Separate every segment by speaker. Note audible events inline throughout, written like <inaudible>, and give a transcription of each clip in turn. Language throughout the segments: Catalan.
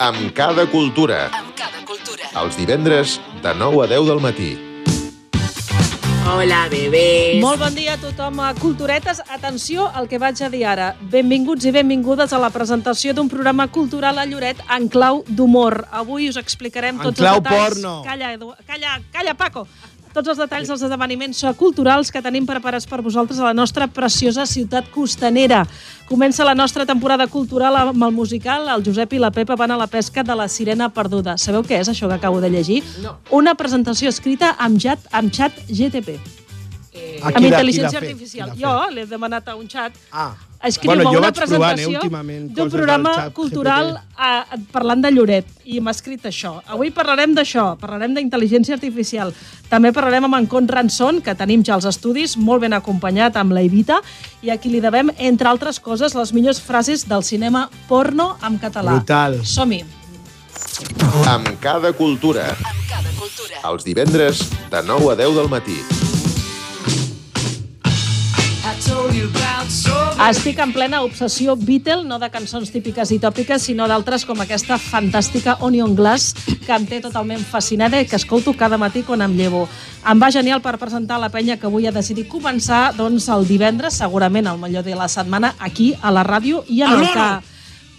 Speaker 1: Amb cada cultura.
Speaker 2: Amb cada cultura.
Speaker 1: Els divendres de 9 a 10 del matí.
Speaker 3: Hola, bebès.
Speaker 4: Molt bon dia a tothom a Culturetes. Atenció al que vaig a dir ara. Benvinguts i benvingudes a la presentació d'un programa cultural a Lloret en clau d'humor. Avui us explicarem
Speaker 5: En
Speaker 4: tots
Speaker 5: clau
Speaker 4: els detalls...
Speaker 5: porno.
Speaker 4: Calla, Edu... Calla, calla, Paco! Tots els detalls dels esdeveniments culturals que tenim preparats per vosaltres a la nostra preciosa ciutat costanera. Comença la nostra temporada cultural amb el musical El Josep i la Pepa van a la pesca de la sirena perduda. Sabeu què és això que acabo de llegir?
Speaker 3: No.
Speaker 4: Una presentació escrita amb, jat, amb xat GTP.
Speaker 3: Eh,
Speaker 5: Aquí
Speaker 4: Amb
Speaker 5: la-
Speaker 4: intel·ligència
Speaker 5: qui l'ha fet?
Speaker 4: artificial.
Speaker 5: Qui l'ha
Speaker 4: Jo
Speaker 5: fet?
Speaker 4: l'he demanat a un xat.
Speaker 5: Ah.
Speaker 4: Escriu
Speaker 5: Bueno, jo
Speaker 4: una
Speaker 5: vaig provant, eh,
Speaker 4: presentació
Speaker 5: últimament,
Speaker 4: d'un
Speaker 5: coses del
Speaker 4: programa
Speaker 5: xat
Speaker 4: cultural a, parlant de Lloret i m'ha escrit això. Avui parlarem d'això, parlarem d'intel·ligència artificial. També parlarem amb en Con Ranson, que tenim ja els estudis, molt ben acompanyat amb la Evita, i a qui li devem, entre altres coses, les millors frases del cinema porno en català.
Speaker 5: Brutal.
Speaker 4: Som-hi.
Speaker 1: Amb cada cultura.
Speaker 2: Amb cada cultura.
Speaker 1: Els divendres de 9 a 10 del matí.
Speaker 4: Estic en plena obsessió Beatle, no de cançons típiques i tòpiques, sinó d'altres com aquesta fantàstica Onion Glass, que em té totalment fascinada i que escolto cada matí quan em llevo. Em va genial per presentar la penya que avui ha decidit començar doncs, el divendres, segurament el millor dia de la setmana, aquí a la ràdio i en el que...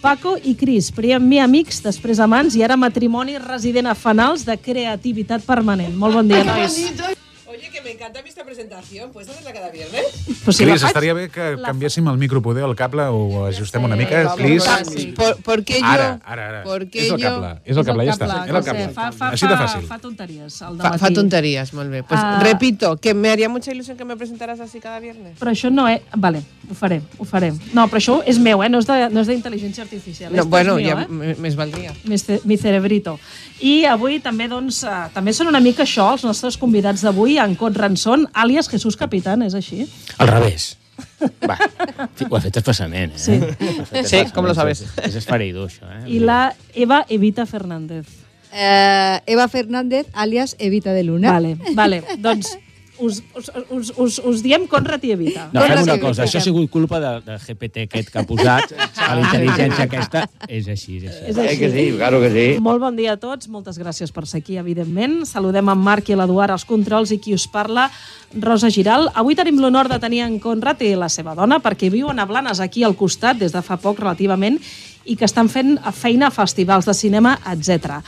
Speaker 4: Paco i Cris, primer amics, després amants i ara matrimoni resident a Fanals de creativitat permanent. Molt bon dia, nois.
Speaker 3: Oye, que me encanta a mí esta presentación. ¿Puedes hacerla cada viernes?
Speaker 4: Però si la
Speaker 6: Cris,
Speaker 4: faig-
Speaker 6: estaria bé que
Speaker 4: la
Speaker 6: canviéssim el micropoder, el cable, o ajustem una mica. Cris,
Speaker 7: ¿Por, por qué yo?
Speaker 6: ara, ara, ara.
Speaker 7: ¿Por qué
Speaker 6: és el
Speaker 7: yo?
Speaker 6: cable, és el cable, ja està. Era el
Speaker 4: no sé,
Speaker 6: cable.
Speaker 4: Fa, fa,
Speaker 6: Així de
Speaker 4: fa-
Speaker 6: fàcil.
Speaker 4: Fa tonteries, el
Speaker 7: Fa,
Speaker 4: dematí.
Speaker 7: fa tonterías, molt bé. Pues
Speaker 4: Ah.
Speaker 7: repito, que me haría mucha ilusión que me presentaras así cada viernes.
Speaker 4: Però això no és... Vale, ho faré, ho faré. No, però això és meu, eh? No és de- no és d'intel·ligència artificial.
Speaker 7: No,
Speaker 4: Esto
Speaker 7: bueno,
Speaker 4: és meu,
Speaker 7: ja
Speaker 4: eh?
Speaker 7: me- més valdria.
Speaker 4: mi ce- mi cerebrito. I avui també, doncs, eh, també són una mica això els nostres convidats d'avui, en Cot Ranson, àlies Jesús Capitán, és així?
Speaker 8: Al revés. Va, fi- ho has fet expressament, eh?
Speaker 4: Sí.
Speaker 8: Ho has fet Doncs
Speaker 7: Sí, com lo sabes.
Speaker 8: És esfereïdor, això, eh?
Speaker 4: I la Eva Evita Fernández.
Speaker 9: Eh, Eva Fernández, alias Evita de Luna.
Speaker 4: Vale, vale. Doncs us, us, us, us, us diem Conrad i Evita.
Speaker 8: No, fem una
Speaker 9: Sí,
Speaker 8: cosa,
Speaker 9: sí,
Speaker 8: això ha
Speaker 9: sí.
Speaker 8: sigut culpa del de GPT aquest que ha posat, a la intel·ligència aquesta, és així, és així.
Speaker 4: És així.
Speaker 8: claro Eh, que sí.
Speaker 4: Molt bon dia a tots, moltes gràcies per ser aquí, evidentment. Saludem en Marc i l'Eduard als controls i qui us parla, Rosa Giral. Avui tenim l'honor de tenir en Conrad i la seva dona, perquè viuen a Blanes, aquí al costat, des de fa poc relativament, i que estan fent feina a festivals de cinema, etc.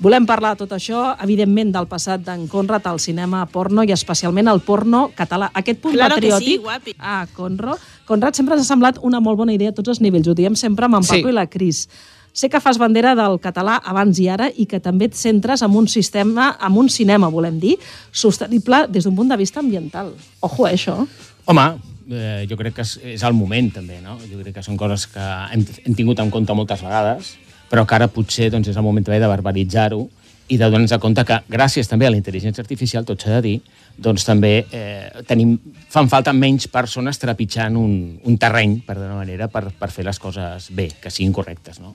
Speaker 4: Volem parlar de tot això, evidentment, del passat d'en Conrad al cinema porno i especialment al porno català. Aquest punt
Speaker 3: Claro que
Speaker 4: patriòtic...
Speaker 3: sí, guapi.
Speaker 4: Ah, Conro. Conrad, sempre ens ha semblat una molt bona idea a tots els nivells. Ho diem sempre amb en
Speaker 7: Sí.
Speaker 4: Paco i la Cris. Sé que fas bandera del català abans i ara i que també et centres en un sistema, en un cinema, volem dir, sostenible des d'un punt de vista ambiental. Ojo, eh, això.
Speaker 8: Home, eh, jo crec que és, és el moment, també, no? Jo crec que són coses que hem, hem tingut en compte moltes vegades, però que ara potser doncs, és el moment també de barbaritzar-ho i de donar-nos compte que, gràcies també a la intel·ligència artificial, tot s'ha de dir, doncs també eh, tenim, fan falta menys persones trepitjant un, un terreny, per d'una manera, per, per fer les coses bé, que siguin correctes, no?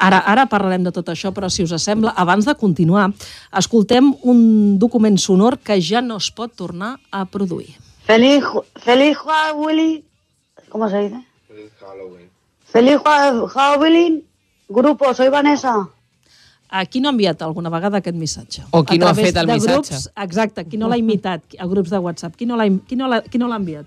Speaker 4: Ara, ara parlarem de tot això, però si us sembla, abans de continuar, escoltem un document sonor que ja no es pot tornar a produir.
Speaker 10: Feliz, Ju- feliz Halloween. ¿Cómo se dice? Feliz Halloween. Feliz Ju- Halloween. Grupo, soy Vanessa.
Speaker 4: A qui no ha enviat alguna vegada aquest missatge?
Speaker 7: O qui
Speaker 4: A
Speaker 7: no ha
Speaker 4: través
Speaker 7: fet el
Speaker 4: de
Speaker 7: missatge.
Speaker 4: Grups, exacte, qui no l'ha imitat a grups de WhatsApp? Qui no l'ha im- qui no l'ha- qui no l'ha enviat?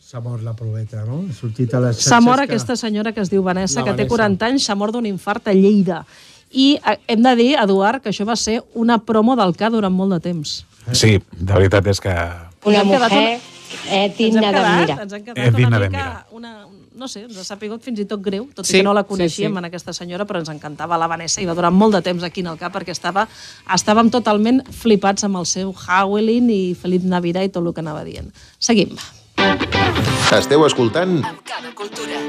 Speaker 5: S'ha mort la proveta, no? Ha sortit a les xarxes
Speaker 4: S'ha mort
Speaker 5: que-
Speaker 4: aquesta senyora que es diu Vanessa,
Speaker 5: La
Speaker 4: que té
Speaker 5: Vanessa.
Speaker 4: 40 anys, s'ha mort d'un infart a Lleida. I eh, hem de dir, Eduard, que això va ser una promo del K durant molt de temps.
Speaker 6: Sí, la veritat és que...
Speaker 4: Una mujer eh, digna d'admirar. Ens hem
Speaker 6: Eh,
Speaker 4: quedat una mica...
Speaker 6: digna d'admirar.
Speaker 4: Una, no sé, ens ha sapigut fins i tot greu, tot sí,
Speaker 7: Sí,
Speaker 4: i que no la
Speaker 7: sí,
Speaker 4: coneixíem
Speaker 7: sí.
Speaker 4: en aquesta senyora, però ens encantava la Vanessa i va durar molt de temps aquí en el cap perquè estava, estàvem totalment flipats amb el seu Howlin i Felip Navidad i tot el que anava dient. Seguim.
Speaker 1: Esteu escoltant
Speaker 2: Amb cada cultura.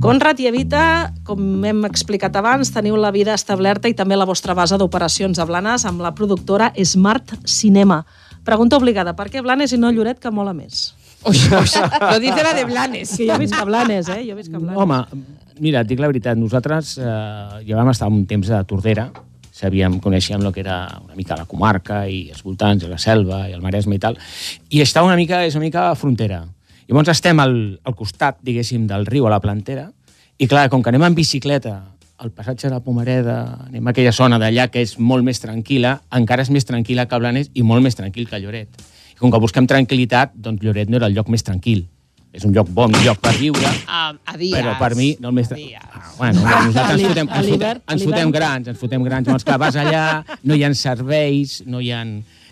Speaker 4: Conrad i Evita, com hem explicat abans, teniu la vida establerta i també la vostra base d'operacions a Blanes amb la productora Smart Cinema. Pregunta obligada, per què Blanes i no Lloret, que mola més?
Speaker 7: Ui, ui, lo dice la de <laughs> Blanes.
Speaker 4: És que jo visc a Blanes, eh? Jo visc a Blanes.
Speaker 8: Home, mira, et dic la veritat, nosaltres eh, ja vam estar un temps a Tordera, sabíem, coneixíem el que era una mica la comarca i els voltants, i la selva, i el Maresme i tal, i està una mica, és una mica frontera. Llavors estem al, al costat, diguéssim, del riu a la plantera, I clar, com que anem en bicicleta al passatge de la Pomareda, anem a aquella zona d'allà que és molt més tranquil·la, encara és més tranquil·la que Blanes i molt més tranquil que Lloret. I com que busquem tranquil·litat, doncs Lloret no era el lloc més tranquil. És un lloc bon, un lloc per viure,
Speaker 3: A,
Speaker 7: Ah,
Speaker 3: a dies.
Speaker 8: però per mi no el més... tra- Ah, bueno, nosaltres ens fotem, ens fotem, ens fotem grans, ens fotem grans. Llavors, clar, vas allà, no hi ha serveis, no hi ha...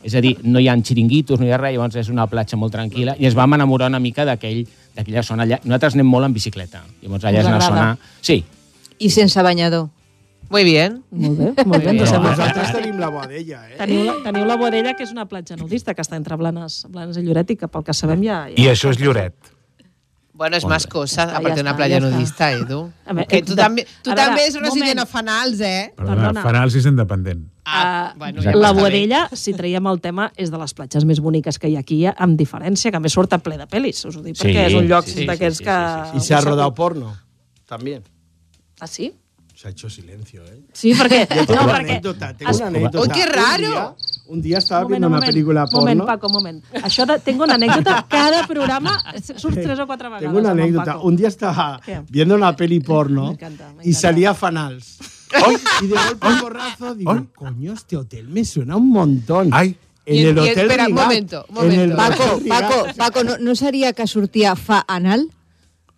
Speaker 8: És a dir, no hi ha xiringuitos, no hi ha res, llavors és una platja molt tranquil·la i ens vam enamorar una mica d'aquell d'aquella zona allà. Nosaltres anem molt en bicicleta. Llavors allà
Speaker 9: Us
Speaker 8: és una zona...
Speaker 9: agrada.
Speaker 8: Sí.
Speaker 9: I sense banyador.
Speaker 7: Muy bien.
Speaker 4: Molt bé, molt bé.
Speaker 8: Però
Speaker 4: Doncs
Speaker 8: ara-
Speaker 4: sembla-
Speaker 5: Nosaltres tenim la bodella, eh?
Speaker 4: Teniu la, teniu la Boadella, que és una platja nudista que està entre Blanes, Blanes i Lloret i que pel que sabem ja... ja.
Speaker 6: I això és Lloret.
Speaker 7: Bueno, es más cosas,
Speaker 4: Ah,
Speaker 9: Ya
Speaker 7: aparte de
Speaker 9: está,
Speaker 7: una playa
Speaker 9: ya está.
Speaker 7: nudista, Edu.
Speaker 4: A ver,
Speaker 7: que
Speaker 4: eh,
Speaker 7: tú
Speaker 4: de-
Speaker 7: también, tú
Speaker 4: a ver,
Speaker 7: también eres una
Speaker 4: moment.
Speaker 7: sirena fanals, ¿eh?
Speaker 6: Perdona,
Speaker 4: Perdona.
Speaker 6: Fanals és independent.
Speaker 4: Ah,
Speaker 7: bueno,
Speaker 6: ja
Speaker 4: la
Speaker 6: està bé.
Speaker 4: Boadella, si traiem el tema, és de les platges més boniques que hi ha aquí, amb diferència, que a més surt a ple de pel·lis, us ho dic,
Speaker 8: Sí,
Speaker 4: perquè és un lloc
Speaker 8: sí, sí,
Speaker 4: d'aquests
Speaker 8: sí, sí,
Speaker 4: que...
Speaker 5: Y se ha rodado porno. También.
Speaker 4: Ah, sí?
Speaker 5: Se ha hecho silencio, ¿eh?
Speaker 4: Sí, perquè...
Speaker 5: Tengo
Speaker 4: No,
Speaker 5: una
Speaker 4: perquè...
Speaker 5: anécdota, tengo una
Speaker 8: Has-
Speaker 5: anécdota.
Speaker 7: ¡Oh, qué
Speaker 5: Un
Speaker 7: raro!
Speaker 5: día- Un día estaba
Speaker 4: Moment,
Speaker 5: viendo una
Speaker 4: moment,
Speaker 5: película
Speaker 4: Moment,
Speaker 5: porno.
Speaker 4: Paco, moment. Això de... Tengo una
Speaker 5: <laughs>
Speaker 4: anècdota. Cada programa surt tres o quatre vegades.
Speaker 5: Tengo una
Speaker 4: amb en
Speaker 5: anécdota.
Speaker 4: Paco.
Speaker 5: Un día estaba
Speaker 4: ¿Qué?
Speaker 5: viendo una peli porno
Speaker 4: Me encanta, me encanta.
Speaker 5: y salía Fanals. Y de golpe un borrazo digo,
Speaker 6: ¡Ay!
Speaker 5: coño, este hotel me suena un montón.
Speaker 6: Ay.
Speaker 5: En
Speaker 7: Y-
Speaker 5: el
Speaker 7: y-
Speaker 5: hotel
Speaker 7: espera, un
Speaker 5: Rigalt,
Speaker 7: momento, un
Speaker 5: en el
Speaker 7: momento.
Speaker 5: hotel
Speaker 9: Paco,
Speaker 5: Rigalt.
Speaker 9: Paco, Paco, no, no seria que sortia fa anal?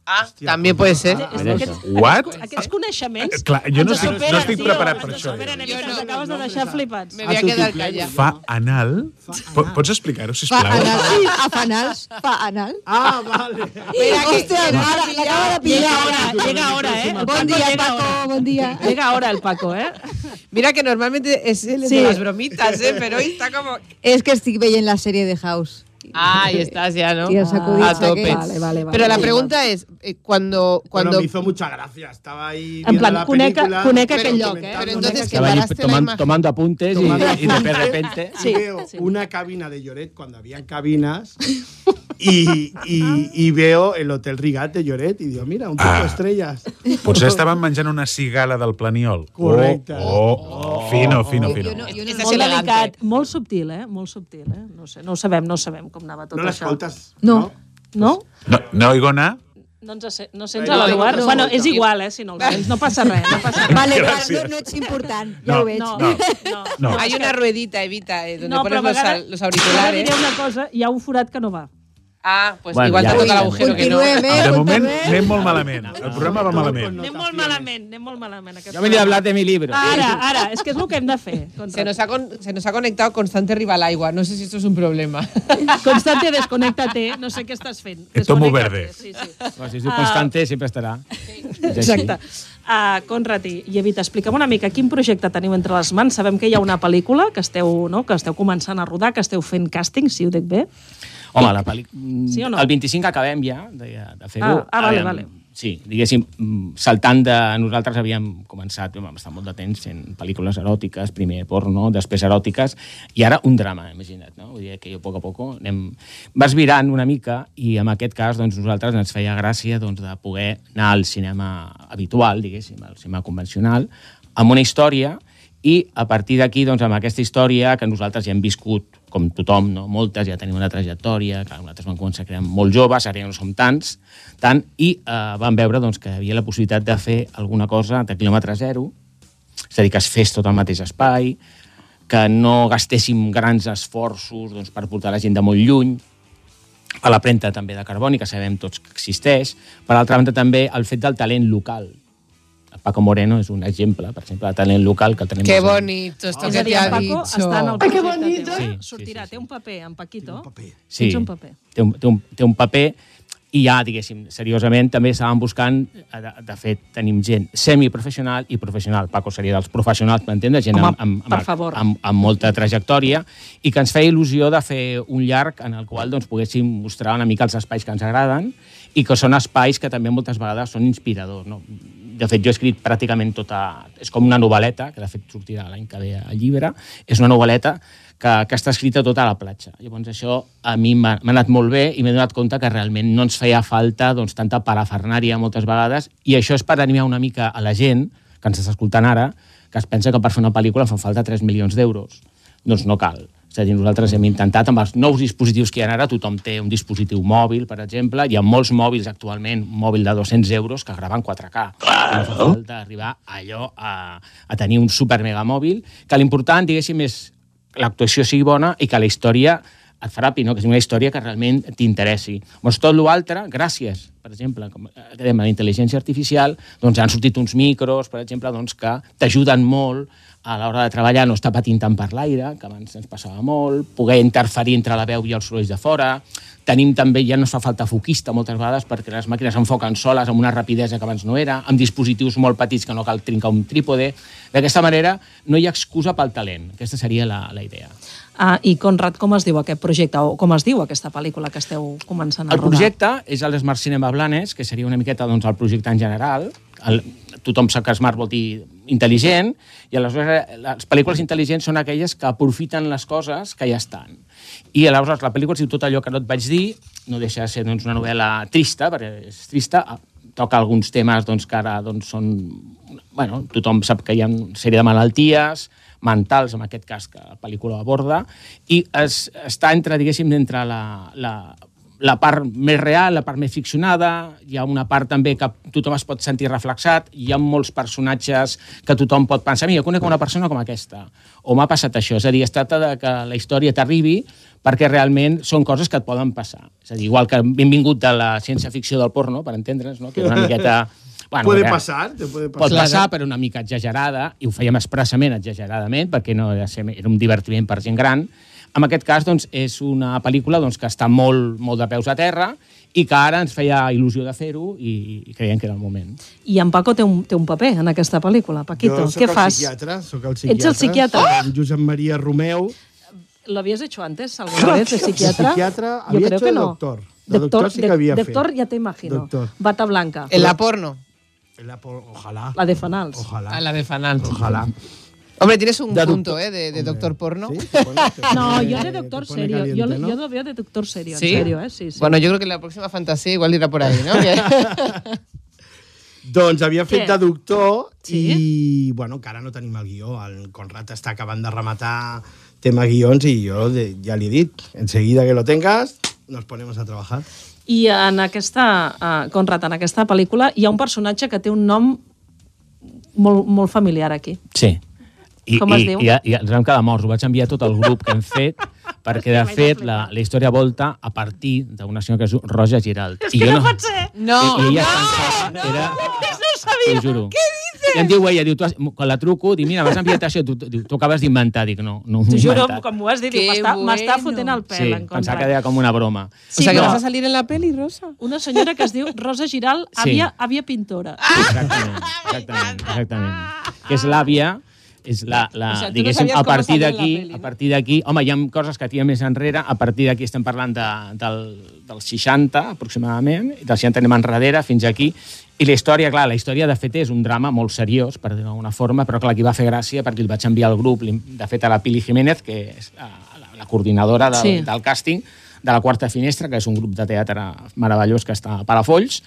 Speaker 7: Ah, también puede ser.
Speaker 4: És
Speaker 8: no
Speaker 4: d'aquests-
Speaker 6: sé. What?
Speaker 4: Aquests, aquests coneixements...
Speaker 6: Eh, clar, jo
Speaker 4: ens
Speaker 6: no estic- no
Speaker 4: superen,
Speaker 6: estic
Speaker 4: tio,
Speaker 6: preparat per
Speaker 4: ens
Speaker 6: això,
Speaker 4: superen,
Speaker 6: jo.
Speaker 4: Eric,
Speaker 7: Jo
Speaker 4: ens
Speaker 7: no,
Speaker 4: acabes
Speaker 5: no,
Speaker 4: de deixar
Speaker 5: no,
Speaker 4: flipats.
Speaker 7: Me
Speaker 5: A
Speaker 7: voy a quedar
Speaker 5: tu
Speaker 7: callada.
Speaker 6: Fa anal? Po- Pots explicar-ho,
Speaker 9: Fa
Speaker 6: sisplau?
Speaker 9: anal. Sí, a fa anals, fa anal.
Speaker 5: Ah, vale.
Speaker 7: Espera que-
Speaker 9: Hòstia, ara l'acaba de
Speaker 4: Llega
Speaker 9: pillar.
Speaker 4: ahora, llega ahora, eh? El
Speaker 9: Bon
Speaker 4: Paco
Speaker 9: dia,
Speaker 4: llega
Speaker 9: Paco,
Speaker 4: ahora.
Speaker 9: bon dia.
Speaker 4: Llega ahora el Paco, eh?
Speaker 7: <laughs> Mira que normalmente es el
Speaker 4: Sí.
Speaker 7: de las bromitas, ¿eh? Pero hoy está
Speaker 4: <laughs>
Speaker 7: como...
Speaker 9: És que estic veient la sèrie de House.
Speaker 7: Ahí estás ya, ¿no?
Speaker 9: I els acudits
Speaker 7: Ah, a tope.
Speaker 9: aquests.
Speaker 4: Vale, vale, vale.
Speaker 7: Pero la pregunta es, eh, cuando...
Speaker 5: Bueno,
Speaker 7: cuando
Speaker 5: me hizo mucha gracia. Estaba ahí
Speaker 4: En
Speaker 5: viendo
Speaker 4: plan,
Speaker 5: la
Speaker 4: cuneca-
Speaker 5: película,
Speaker 4: cuneca
Speaker 5: pero
Speaker 4: aquel lloc, ¿eh?
Speaker 5: comentando
Speaker 7: Pero entonces,
Speaker 9: que
Speaker 8: Que vaig
Speaker 7: paraste la
Speaker 8: tomant,
Speaker 7: imagen.
Speaker 8: tomando apuntes i,
Speaker 5: Tomando
Speaker 8: i de repente...
Speaker 4: Sí,
Speaker 5: veo
Speaker 4: sí.
Speaker 5: una cabina de Lloret cuando habían cabinas y, y- y veo el Hotel Rigat de Lloret y digo, mira, un poco
Speaker 6: Ah.
Speaker 5: estrellas.
Speaker 6: Potser estaven menjant una cigala del planiol.
Speaker 5: Correcte.
Speaker 6: Oh, oh, fino, fino,
Speaker 9: Jo
Speaker 6: fino.
Speaker 9: no, jo
Speaker 7: Este
Speaker 9: no,
Speaker 7: és
Speaker 4: Molt
Speaker 7: elegante.
Speaker 4: delicat, molt subtil, eh? Molt subtil, eh? No, sé, no ho sabem, no sabem com anava tot
Speaker 5: No
Speaker 4: això.
Speaker 5: l'escoltes?
Speaker 9: no.
Speaker 4: No?
Speaker 6: No, no oigo anar?
Speaker 4: No ens se, no sents
Speaker 5: No,
Speaker 4: a l'Eduard?
Speaker 5: no, no.
Speaker 4: bueno, és igual, eh, si no el sents. No passa res, no passa res.
Speaker 9: Vale, vale, no,
Speaker 6: Gràcies.
Speaker 9: no ets important, ja
Speaker 6: No,
Speaker 9: ho veig.
Speaker 4: No,
Speaker 6: No.
Speaker 4: no.
Speaker 6: No.
Speaker 7: Hay una ruedita, Evita, eh, donde pones los,
Speaker 4: m'agrada-
Speaker 7: al- los
Speaker 4: Ara diré
Speaker 7: auriculares.
Speaker 4: una cosa, hi ha un forat que no va.
Speaker 7: Ah, pues
Speaker 8: Bueno,
Speaker 7: igual
Speaker 8: ya.
Speaker 7: te toca el
Speaker 8: Uy,
Speaker 7: agujero que no.
Speaker 9: continuem, eh?
Speaker 6: De moment
Speaker 9: continuem.
Speaker 6: anem molt malament. El programa va malament.
Speaker 4: Anem molt malament, anem molt malament. Aquest
Speaker 8: Jo venia a hablar de mi libro.
Speaker 4: Ara, ara, és que és el que hem
Speaker 7: <laughs>
Speaker 4: de fer.
Speaker 7: <laughs> Se
Speaker 4: Contra...
Speaker 7: nos, ha con- se nos ha conectado Constante Rivalagua. No sé si esto es un problema.
Speaker 4: Constante, desconnecta-te, no sé què estàs fent.
Speaker 6: Que tomo
Speaker 4: Desconéctate,
Speaker 6: verde.
Speaker 4: Sí, sí.
Speaker 8: Bueno, Si es diu constante, sempre estarà. És així.
Speaker 4: Exacte. Uh, Conrati i Evita, explica'm una mica quin projecte teniu entre les mans. Sabem que hi ha una pel·lícula que esteu, no? que esteu començant a rodar, que esteu fent càsting, si ho dic bé.
Speaker 8: Home, la pel·li...
Speaker 4: Sí o no?
Speaker 8: El 25 acabem ja de, de fer-ho.
Speaker 4: Ah, ah, vale,
Speaker 8: Aviam,
Speaker 4: vale.
Speaker 8: Sí, diguéssim, mm, saltant de... Nosaltres havíem començat, vam estar molt de temps fent pel·lícules eròtiques, primer porno, després eròtiques, i ara un drama, imagina't, no? Vull dir que jo a poc a poc anem... Vas virant una mica i en aquest cas doncs, nosaltres ens feia gràcia doncs, de poder anar al cinema habitual, diguéssim, al cinema convencional, amb una història i a partir d'aquí, doncs, amb aquesta història que nosaltres ja hem viscut, com tothom, no? moltes, ja tenim una trajectòria, clar, nosaltres vam començar creant molt joves, ara ja no som tants, tant, i eh, vam veure doncs, que hi havia la possibilitat de fer alguna cosa de quilòmetre zero, és a dir, que es fes tot al mateix espai, que no gastéssim grans esforços doncs, per portar la gent de molt lluny, a la premta també de carboni, que sabem tots que existeix, per altra banda també el fet del talent local. El Paco Moreno és un exemple, per exemple, de talent local que el tenim...
Speaker 7: Qué
Speaker 8: bastant-
Speaker 7: bonito esto
Speaker 4: és
Speaker 7: que
Speaker 4: a dir,
Speaker 7: te
Speaker 4: en
Speaker 7: ha
Speaker 4: Paco
Speaker 7: dicho.
Speaker 4: està en el projecte teu.
Speaker 8: Sí, sí,
Speaker 4: Sortirà,
Speaker 8: sí, sí.
Speaker 4: té un paper, en Paquito. Té un paper.
Speaker 8: Sí,
Speaker 4: un paper.
Speaker 8: Té un, té un, té un paper i ja, diguéssim, seriosament, també estàvem buscant, eh, de, de fet, tenim gent semiprofessional i professional. Paco seria dels professionals, per entendre, gent
Speaker 4: Home,
Speaker 8: amb, amb,
Speaker 4: per
Speaker 8: amb,
Speaker 4: favor.
Speaker 8: amb, amb molta trajectòria i que ens feia il·lusió de fer un llarg en el qual doncs, poguéssim mostrar una mica els espais que ens agraden i que són espais que també moltes vegades són inspiradors. No? De fet, jo he escrit pràcticament tota... És com una novel·leta, que de fet sortirà l'any que ve al llibre. És una novel·leta que, que està escrita tota a la platja. Llavors això a mi m'ha m'ha anat molt bé i m'he donat compte que realment no ens feia falta doncs, tanta parafernària moltes vegades i això és per animar una mica a la gent que ens està escoltant ara, que es pensa que per fer una pel·lícula fan falta 3 milions d'euros. Doncs no cal. És a dir, nosaltres hem intentat, amb els nous dispositius que hi ha ara, tothom té un dispositiu mòbil, per exemple, hi ha molts mòbils actualment, un mòbil de 200 euros, que grava en 4K. No fa falta arribar a allò a, a tenir un super mega mòbil, que l'important, diguéssim, és que l'actuació sigui bona i que la història et frapi, no? que sigui una història que realment t'interessi. Doncs tot l'altre, gràcies, per exemple, com eh, que dèiem, a la intel·ligència artificial, doncs han sortit uns micros, per exemple, doncs, que t'ajuden molt a l'hora de treballar, no estar patint tant per l'aire, que abans ens passava molt, poder interferir entre la veu i els sorolls de fora, tenim també, ja no es fa falta foquista moltes vegades perquè les màquines s'enfoquen soles amb una rapidesa que abans no era, amb dispositius molt petits que no cal trincar un trípode. D'aquesta manera no hi ha excusa pel talent. Aquesta seria la, la idea.
Speaker 4: Ah, I Conrad, com es diu aquest projecte o com es diu aquesta pel·lícula que esteu començant a
Speaker 8: El
Speaker 4: rodar?
Speaker 8: projecte és el Smart Cinema Blanes, que seria una miqueta doncs, el projecte en general. El, tothom sap que Smart vol dir intel·ligent, i aleshores eh, les pel·lícules intel·ligents són aquelles que aprofiten les coses que ja estan. I aleshores la pel·lícula es diu tot allò que no et vaig dir, no deixa de ser doncs, una novel·la trista, perquè és trista, ah, toca alguns temes doncs, que ara doncs, són... Bueno, tothom sap que hi ha una sèrie de malalties, mentals, en aquest cas, que la pel·lícula aborda, i es, està entre, diguéssim, entre la, la, la part més real, la part més ficcionada, hi ha una part també que tothom es pot sentir reflexat, hi ha molts personatges que tothom pot pensar, mira, conec una persona com aquesta, o m'ha passat això. És a dir, es tracta de que la història t'arribi perquè realment són coses que et poden passar. És a dir, igual que hem vingut de la ciència-ficció del porno, per entendre's, no? que és
Speaker 5: <laughs>
Speaker 8: una miqueta...
Speaker 4: Ah,
Speaker 5: puede
Speaker 8: era-
Speaker 5: pasar, te puede pasar.
Speaker 4: Pues
Speaker 8: Pot passar, però una mica exagerada, i ho fèiem expressament exageradament, perquè no era, ser, era un divertiment per gent gran. En aquest cas, doncs, és una pel·lícula doncs, que està molt, molt de peus a terra i que ara ens feia il·lusió de fer-ho i, i creiem que era el moment.
Speaker 4: I en Paco té un, té un paper en aquesta pel·lícula. Paquito,
Speaker 5: Jo sóc
Speaker 4: què
Speaker 5: el
Speaker 4: fas?
Speaker 5: psiquiatre, sóc el
Speaker 4: el
Speaker 5: psiquiatra.
Speaker 4: psiquiatra?
Speaker 5: soc Josep Maria Romeu.
Speaker 4: ¿L'havies hecho antes alguna vez de psiquiatra?
Speaker 5: Psiquiatra,
Speaker 4: Yo
Speaker 5: había
Speaker 4: creo
Speaker 5: hecho
Speaker 4: que
Speaker 5: de
Speaker 4: no.
Speaker 5: doctor. De doctor sí que había
Speaker 4: de-
Speaker 5: fet.
Speaker 4: Doctor ya te imagino.
Speaker 5: Doctor.
Speaker 4: Bata blanca.
Speaker 7: En la porno.
Speaker 5: La por- Ojalá.
Speaker 4: La de Fanals.
Speaker 5: Ojalá.
Speaker 7: A la de Fanal.
Speaker 5: Ah. Ojalá.
Speaker 7: Hombre, tienes un
Speaker 5: De doctor-
Speaker 7: punto, ¿eh? De, de doctor porno.
Speaker 5: Sí, te pone- te
Speaker 4: No,
Speaker 5: pone-
Speaker 4: yo de
Speaker 5: te
Speaker 4: doctor
Speaker 5: pone
Speaker 4: serio.
Speaker 5: caliente,
Speaker 4: yo, lo-
Speaker 5: ¿no?
Speaker 4: yo lo veo de doctor serio.
Speaker 7: ¿Sí?
Speaker 4: En serio, ¿eh? Sí, sí.
Speaker 7: Bueno, yo creo que la próxima fantasía igual irá por <laughs> ahí, ¿no?
Speaker 5: Doncs havia fet
Speaker 4: Què?
Speaker 5: de doctor
Speaker 4: Sí?
Speaker 5: i, bueno, que ara no tenim el guió. El Conrad està acabant de rematar tema guions i jo de, ja li he dit, enseguida que lo tengas, nos ponemos a trabajar.
Speaker 4: I en aquesta, uh, Conrad, en aquesta pel·lícula hi ha un personatge que té un nom molt, molt familiar aquí.
Speaker 8: Sí. I,
Speaker 4: Com es
Speaker 8: i,
Speaker 4: diu?
Speaker 8: I, i ens vam quedar morts, ho vaig enviar a tot el grup que hem
Speaker 4: <laughs>
Speaker 8: fet, perquè de fet la, la història volta a partir d'una senyora que es diu Roja Giralt. És
Speaker 4: Que no, pot ser!
Speaker 7: No,
Speaker 8: I, i ella
Speaker 7: no.
Speaker 8: es pensava que era...
Speaker 4: No sabia!
Speaker 8: T'ho juro. Què dices? I em diu ella, diu, tu has, quan la truco, diu, mira, m'has enviat això, tu, diu, tu acabes d'inventar. Dic, no, no ho he
Speaker 4: T'ho juro,
Speaker 8: inventat.
Speaker 4: com ho has dit,
Speaker 7: Qué
Speaker 4: m'està bueno.
Speaker 7: bueno.
Speaker 4: fotent el pèl
Speaker 8: Sí,
Speaker 4: en
Speaker 8: pensava que
Speaker 4: Conrad.
Speaker 8: era com una broma.
Speaker 7: o sea, que
Speaker 4: no.
Speaker 7: vas a salir en la peli, Rosa.
Speaker 4: Una senyora que es diu Rosa Giral,
Speaker 8: Sí.
Speaker 4: àvia, àvia pintora.
Speaker 8: Exactament, exactament, exactament. Que és l'àvia, és la, la,
Speaker 7: Ah, O sea, tu no
Speaker 8: diguéssim,
Speaker 7: sabies
Speaker 8: a
Speaker 7: com
Speaker 8: partir
Speaker 7: salir en la
Speaker 8: d'aquí,
Speaker 7: peli,
Speaker 8: a
Speaker 7: no?
Speaker 8: partir d'aquí, home, hi ha coses que tirem més enrere, a partir d'aquí estem parlant de, del, del 60, aproximadament, i del 60 anem enrere fins aquí, i la història, clar, la història de fet és un drama molt seriós, per dir-ho d'alguna forma, però clar, qui va fer gràcia perquè el vaig enviar al grup, li- de fet a la Pili Jiménez, que és eh, la, la coordinadora del,
Speaker 4: Sí.
Speaker 8: sí. del càsting, de la Quarta Finestra, que és un grup de teatre meravellós que està a Palafolls,